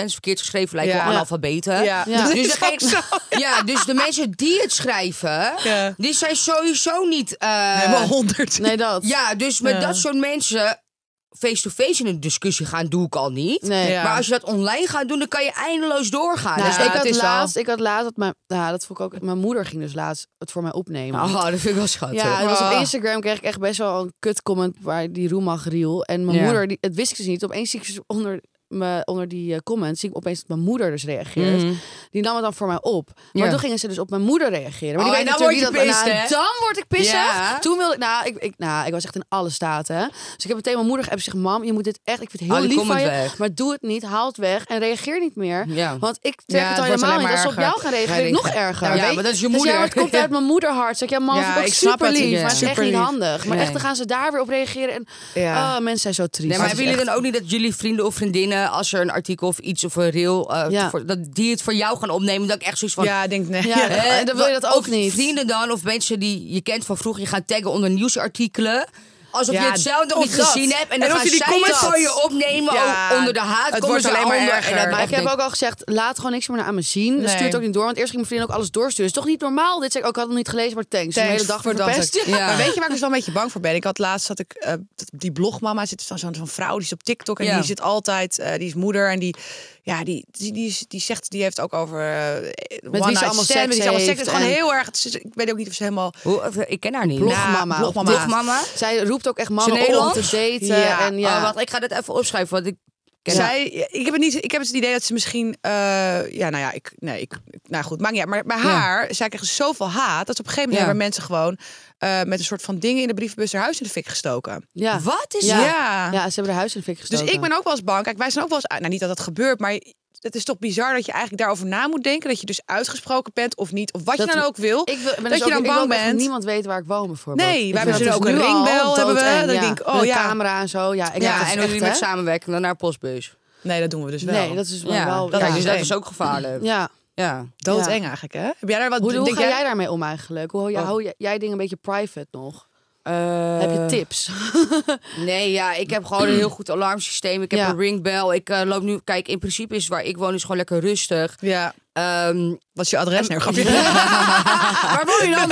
Speaker 6: 99% is verkeerd geschreven, lijkt
Speaker 3: Ja.
Speaker 6: wel analfabeten.
Speaker 3: Ja.
Speaker 4: Ja.
Speaker 3: (laughs)
Speaker 6: Dus,
Speaker 3: is ook
Speaker 6: degene- ja, dus de mensen die het schrijven,
Speaker 3: Ja.
Speaker 6: die zijn sowieso niet... eh,
Speaker 3: Helemaal 100.
Speaker 4: Nee, dat.
Speaker 6: ja, dus met
Speaker 3: Ja.
Speaker 6: dat soort mensen face-to-face in een discussie gaan, doe ik al niet.
Speaker 4: Nee.
Speaker 3: Ja.
Speaker 6: Maar als je dat online gaat doen, dan kan je eindeloos doorgaan.
Speaker 4: Nou,
Speaker 6: dus
Speaker 3: ja,
Speaker 6: ik
Speaker 4: ik,
Speaker 6: had
Speaker 3: het
Speaker 4: had
Speaker 3: is wel-
Speaker 4: laatst, ik had laatst, dat mijn, ja, dat vond ik ook, mijn moeder ging dus laatst het voor mij opnemen.
Speaker 6: Oh, dat vind ik wel schattig.
Speaker 4: Ja, het was op
Speaker 3: Ah.
Speaker 4: Instagram kreeg ik echt best wel een kut comment waar die Roemag riel. En mijn
Speaker 6: Ja.
Speaker 4: moeder, die, het wist ik dus niet. Opeens zie ik dus onder, me, onder die eh, comment, zie ik opeens dat mijn moeder dus reageert. Die nam het dan voor mij op. Maar
Speaker 6: Mhm. Ja.
Speaker 4: toen gingen ze dus op mijn moeder reageren. Maar
Speaker 6: Oh,
Speaker 4: die
Speaker 6: en
Speaker 4: weet
Speaker 6: dan
Speaker 4: natuurlijk
Speaker 6: word je
Speaker 4: niet dat-
Speaker 6: pissed,
Speaker 4: nou,
Speaker 6: hè?
Speaker 4: Dan word ik pissig.
Speaker 6: Ja.
Speaker 4: Toen wilde ik nou ik, ik, nou, ik was echt in alle staten. hè. Dus ik heb meteen mijn moeder geappt. Ik zeg, mam, je moet dit echt, ik vind het heel
Speaker 6: Haal Ah, die
Speaker 4: lief van je.
Speaker 6: comment weg."
Speaker 4: Maar doe het niet, haal het weg en reageer niet meer.
Speaker 6: Ja.
Speaker 4: Want ik trek
Speaker 3: Ja,
Speaker 4: het
Speaker 3: het
Speaker 4: al
Speaker 3: wordt
Speaker 4: helemaal
Speaker 3: alleen
Speaker 4: niet.
Speaker 3: maar
Speaker 4: Als ze op
Speaker 3: erger.
Speaker 4: jou gaan reageren, vind ik nog erger.
Speaker 6: Ja,
Speaker 4: Weet
Speaker 6: maar
Speaker 4: je?
Speaker 6: dat is je
Speaker 4: Dus
Speaker 6: moeder.
Speaker 4: ja, maar het komt uit mijn moederhart. Zeg, ja, mam,
Speaker 3: Ja,
Speaker 4: vind ik ook
Speaker 3: ik snap
Speaker 4: super lief.
Speaker 3: het.
Speaker 4: Maar het is
Speaker 3: Ja.
Speaker 4: echt niet
Speaker 3: Superlief.
Speaker 4: handig. Maar
Speaker 6: Nee.
Speaker 4: echt, dan gaan ze daar weer op reageren. En
Speaker 3: Ja.
Speaker 4: ah, mensen zijn zo triest.
Speaker 6: Nee, maar
Speaker 4: Het
Speaker 6: hebben
Speaker 4: is
Speaker 6: jullie dan ook niet dat jullie vrienden of vriendinnen, als er een artikel of iets of een reel, eh,
Speaker 4: Ja.
Speaker 6: voor- dat die het voor jou gaan opnemen, dat ik echt zoiets van.
Speaker 3: Ja, eh, ik denk nee.
Speaker 4: Ja.
Speaker 6: hè,
Speaker 4: en dan wil je
Speaker 6: wa-
Speaker 4: dat ook niet.
Speaker 6: Vrienden dan, of mensen die je kent van vroeger, je gaat taggen onder nieuwsartikelen. Alsof
Speaker 3: Ja,
Speaker 6: je het zelf nog
Speaker 3: of
Speaker 6: niet
Speaker 3: dat.
Speaker 6: gezien hebt. En dan
Speaker 3: En of
Speaker 6: gaan
Speaker 3: je die
Speaker 6: zij
Speaker 3: comments-
Speaker 6: het voor je opnemen
Speaker 3: Ja,
Speaker 6: ook onder de haat.
Speaker 3: het
Speaker 6: komen
Speaker 3: wordt
Speaker 6: ze
Speaker 3: alleen maar
Speaker 6: onder.
Speaker 3: erger.
Speaker 6: En dat
Speaker 3: Maar
Speaker 4: Maar ik
Speaker 6: echt
Speaker 4: heb
Speaker 6: denk-
Speaker 4: ook al gezegd, laat gewoon niks meer naar aan me zien.
Speaker 3: Nee.
Speaker 4: Stuur het ook niet door, want eerst ging mijn vriendin ook alles doorsturen. Het is toch niet normaal. Dit zei ik ook, ik had het nog niet gelezen, maar thanks. de hele dag
Speaker 3: voor dat
Speaker 4: verpest.
Speaker 3: ik-
Speaker 6: Ja.
Speaker 3: Maar weet je waar ik dus wel een beetje bang voor ben? Ik had laatst zat ik eh, dat- die blogmama zit van zo'n zo'n vrouw die is op TikTok en
Speaker 6: Ja.
Speaker 3: die zit altijd eh, die is moeder en die ja die die die, is- die zegt die heeft ook over eh, one
Speaker 4: wie ze
Speaker 3: night
Speaker 4: allemaal
Speaker 3: stand,
Speaker 4: seks
Speaker 3: met wie ze allemaal seks
Speaker 4: heeft
Speaker 3: heeft. gewoon
Speaker 4: en-
Speaker 3: heel erg. het is- ik weet ook niet of ze helemaal
Speaker 6: Hoe- ik ken haar niet.
Speaker 3: Blog-
Speaker 4: Blogmama.
Speaker 3: Ja, blogmama.
Speaker 4: Blog-
Speaker 6: Mama.
Speaker 4: Zij roept ook echt mannen
Speaker 6: Is ze
Speaker 4: op om te
Speaker 6: Nederlands?
Speaker 4: daten.
Speaker 3: Ja.
Speaker 4: En ja.
Speaker 6: Oh, wacht, ik ga dit even opschrijven, want ik ken haar.
Speaker 3: Zij, ik heb het niet. Ik heb het idee dat ze misschien, eh, ja, nou ja, ik, nee, ik, nou goed, maakt niet uit. Maar bij
Speaker 6: Ja.
Speaker 3: haar, zij kreeg zoveel haat dat ze op een gegeven moment
Speaker 6: Ja.
Speaker 3: hebben mensen gewoon eh, met een soort van dingen in de brievenbus haar huis in de fik gestoken.
Speaker 4: ja.
Speaker 6: Wat is
Speaker 4: Ja.
Speaker 6: dit?
Speaker 4: Ja, ze hebben haar huis in de fik gestoken.
Speaker 3: Dus ik ben ook wel eens bang. Kijk, wij zijn ook wel eens. Nou, niet dat dat gebeurt, maar het is toch bizar dat je eigenlijk daarover na moet denken. Dat je dus uitgesproken bent of niet, of wat
Speaker 4: Dat-
Speaker 3: je dan ook wil.
Speaker 4: Ik wil, ben
Speaker 3: dat
Speaker 4: dus
Speaker 3: je
Speaker 4: ook-
Speaker 3: dan
Speaker 4: ik wil
Speaker 3: bang
Speaker 4: ook echt
Speaker 3: bent.
Speaker 4: niemand weet waar ik woon bijvoorbeeld.
Speaker 3: Nee,
Speaker 4: Ik
Speaker 3: wij
Speaker 4: vind
Speaker 3: hebben
Speaker 4: dat
Speaker 3: dus
Speaker 4: is
Speaker 3: ook
Speaker 4: nu
Speaker 3: een
Speaker 4: al
Speaker 3: ringbel hebben we.
Speaker 4: doodeng,
Speaker 3: Dat ik
Speaker 4: ja.
Speaker 3: denk, oh
Speaker 4: Met een
Speaker 3: ja.
Speaker 4: camera en zo. Ja, ik dus
Speaker 3: Ja,
Speaker 4: ja,
Speaker 6: en hoe jullie met
Speaker 4: samen.
Speaker 6: samenwerken dan naar postbus.
Speaker 3: Nee, dat doen we dus wel.
Speaker 4: Nee, dat is wel...
Speaker 6: Ja,
Speaker 4: wel-
Speaker 6: dat,
Speaker 4: ja.
Speaker 3: is
Speaker 6: Dus dat
Speaker 3: eng.
Speaker 6: is ook gevaarlijk.
Speaker 4: Ja.
Speaker 6: Ja.
Speaker 3: Doodeng eigenlijk, hè? Heb jij Oh. daar wat?
Speaker 4: Hoe, hoe
Speaker 3: denk
Speaker 4: ga jij... daarmee om eigenlijk? Hoe hou jij, hou jij- jij dingen een beetje private nog?
Speaker 3: Eh,
Speaker 4: Heb je
Speaker 3: (laughs)
Speaker 4: tips? Oh,
Speaker 6: Nee, ja, ik heb gewoon een heel goed alarmsysteem. Ik heb
Speaker 4: Ja.
Speaker 6: een ringbel. Ik eh, loop nu... Kijk, in principe is waar ik woon is gewoon lekker rustig.
Speaker 4: (laughs)
Speaker 3: Ja.
Speaker 6: Ehm,
Speaker 3: Wat is je adres? Nee, grapje.
Speaker 6: waar woon je dan?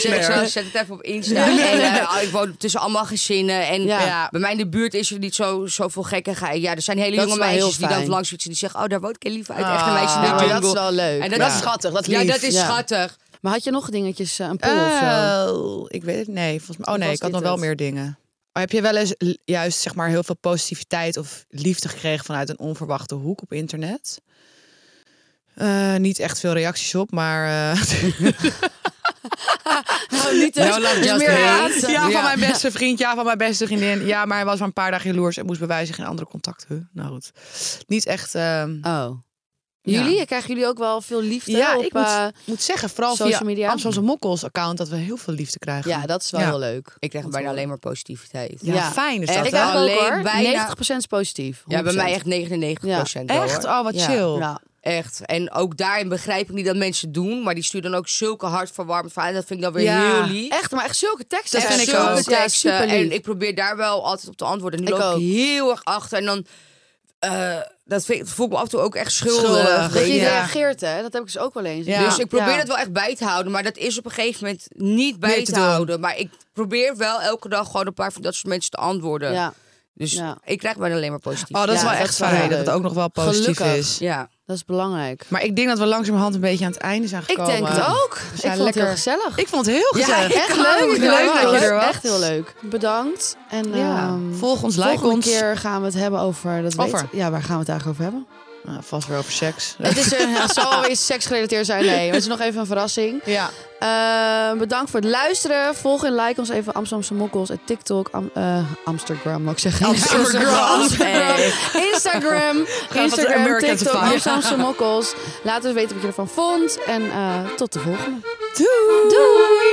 Speaker 6: Zet,
Speaker 3: Nee,
Speaker 6: ik zo-
Speaker 3: hoor.
Speaker 6: zet het even op Insta. En, eh, ik woon tussen allemaal gezinnen. En
Speaker 4: Ja.
Speaker 3: Ja.
Speaker 6: bij mij in de buurt is er niet zo, zoveel gekkigheid. Ja, er zijn hele
Speaker 4: Dat
Speaker 6: jonge
Speaker 4: is wel heel
Speaker 6: meisjes die dan
Speaker 4: fijn.
Speaker 6: langs fietsen. Die zeggen, oh, daar woont Kelly uit.
Speaker 3: Ah.
Speaker 6: Echt een meisje in de
Speaker 4: Ja, maar
Speaker 6: jungle.
Speaker 4: dat is wel leuk.
Speaker 6: En
Speaker 3: Dat is schattig, dat is
Speaker 6: Ja,
Speaker 3: lief.
Speaker 6: dat is
Speaker 4: Ja.
Speaker 6: schattig.
Speaker 4: Maar had je nog dingetjes, eh, een poll of zo?
Speaker 3: Eh, ik weet het. Nee, volgens mij. Oh nee,
Speaker 4: was
Speaker 3: ik had
Speaker 4: dit
Speaker 3: nog wel
Speaker 4: het?
Speaker 3: meer dingen. Maar heb je wel eens l- juist zeg maar heel veel positiviteit of liefde gekregen vanuit een onverwachte hoek op internet? Eh, niet echt veel reacties op, maar. eh, (laughs)
Speaker 6: Oh,
Speaker 4: Nou, niet
Speaker 6: No love, just hate.
Speaker 4: haat.
Speaker 3: Ja, van
Speaker 6: Ja.
Speaker 3: mijn beste vriend. Ja, van mijn beste vriendin. Ja, maar hij was maar een paar dagen jaloers en moest bewijzen geen andere contacten. Nou goed. Niet echt. ehm,
Speaker 4: Oh. Jullie? Krijgen jullie ook wel veel liefde?
Speaker 3: Ja,
Speaker 4: op,
Speaker 3: ik moet,
Speaker 4: eh,
Speaker 3: moet zeggen, vooral
Speaker 4: social
Speaker 3: via
Speaker 4: media?
Speaker 3: Amsterdamse Mokkels account dat we heel veel liefde krijgen.
Speaker 4: ja, dat is wel
Speaker 3: Ja.
Speaker 4: heel leuk.
Speaker 6: Ik krijg
Speaker 4: Om te
Speaker 6: bijna
Speaker 4: horen.
Speaker 6: alleen maar positiviteit.
Speaker 3: Ja,
Speaker 4: Ja. Eh,
Speaker 3: fijn is
Speaker 6: Echt,
Speaker 3: dat.
Speaker 4: Ik
Speaker 3: hè?
Speaker 4: eigenlijk ook
Speaker 6: Alleen
Speaker 4: hoor.
Speaker 6: bijna-
Speaker 4: 90% is positief.
Speaker 6: Ja, bij
Speaker 4: 100%.
Speaker 6: mij echt 99 procent.
Speaker 3: Echt? Oh, wat chill.
Speaker 4: Ja. nou,
Speaker 6: Echt. En ook daarin begrijp ik niet dat mensen het doen. Maar die sturen dan ook zulke hartverwarmend verhalen. Dat vind ik dan weer
Speaker 3: Ja.
Speaker 6: heel lief.
Speaker 4: Echt, maar echt zulke teksten.
Speaker 3: Dat
Speaker 6: Echt
Speaker 3: vind ik
Speaker 6: zulke
Speaker 3: ook.
Speaker 4: Ja,
Speaker 6: teksten.
Speaker 4: superlief.
Speaker 6: En ik probeer daar wel altijd op te antwoorden. En nu
Speaker 4: Ik
Speaker 6: loop
Speaker 4: ook.
Speaker 6: ik heel erg achter. En dan... eh, dat vind, ik- voel ik me af en toe ook echt schuldig.
Speaker 3: Schuldig.
Speaker 4: Dat je
Speaker 3: Ja.
Speaker 4: reageert, hè? Dat heb ik dus ook wel eens.
Speaker 3: Ja.
Speaker 6: Dus ik probeer
Speaker 4: Ja.
Speaker 6: dat wel echt bij te houden. Maar dat is op een gegeven moment niet bij
Speaker 3: Meer
Speaker 6: te,
Speaker 3: te doen.
Speaker 6: houden. Maar ik probeer wel elke dag gewoon een paar van dat soort mensen te antwoorden.
Speaker 4: Ja,
Speaker 6: Dus
Speaker 4: Ja.
Speaker 6: ik krijg bijna alleen maar positief.
Speaker 3: Oh, dat is
Speaker 4: Ja,
Speaker 3: wel
Speaker 4: dat
Speaker 3: echt
Speaker 4: is wel
Speaker 3: fijn
Speaker 4: heel
Speaker 3: dat het
Speaker 4: leuk.
Speaker 3: ook nog wel positief
Speaker 4: Gelukkig.
Speaker 3: is.
Speaker 6: Ja.
Speaker 4: dat is belangrijk.
Speaker 3: Maar ik denk dat we langzamerhand een beetje aan het einde zijn
Speaker 4: Ik
Speaker 3: gekomen.
Speaker 4: denk het ook. Ik vond
Speaker 3: zijn
Speaker 4: het heel
Speaker 3: lekker-
Speaker 4: gezellig.
Speaker 3: Ik vond het heel
Speaker 4: Ja,
Speaker 3: gezellig.
Speaker 4: echt leuk.
Speaker 3: Leuk dat je er was.
Speaker 4: Echt heel leuk. Bedankt. En
Speaker 3: Ja.
Speaker 4: ehm,
Speaker 3: Volg ons, like
Speaker 4: volgende
Speaker 3: ons.
Speaker 4: keer gaan we het hebben over... Dat
Speaker 3: Over?
Speaker 4: Weet, ja, waar gaan we het eigenlijk over hebben?
Speaker 3: Nou, vast weer over
Speaker 4: (laughs)
Speaker 3: seks.
Speaker 4: Het is er, het zal weer seksgerelateerd zijn. Nee, maar het is nog even een verrassing.
Speaker 3: ja.
Speaker 4: Ehm, bedankt voor het luisteren. Volg en like ons even Amsterdamse Mokkels en TikTok. Am- eh, Amsterdam, mag ik zeggen. (laughs) Instagram.
Speaker 3: Amsterdam. wat
Speaker 4: Instagram,
Speaker 3: American
Speaker 4: TikTok,
Speaker 3: Safari.
Speaker 4: Amsterdamse Mokkels. Laat ons weten wat je ervan vond. En eh, tot de volgende.
Speaker 3: Doei.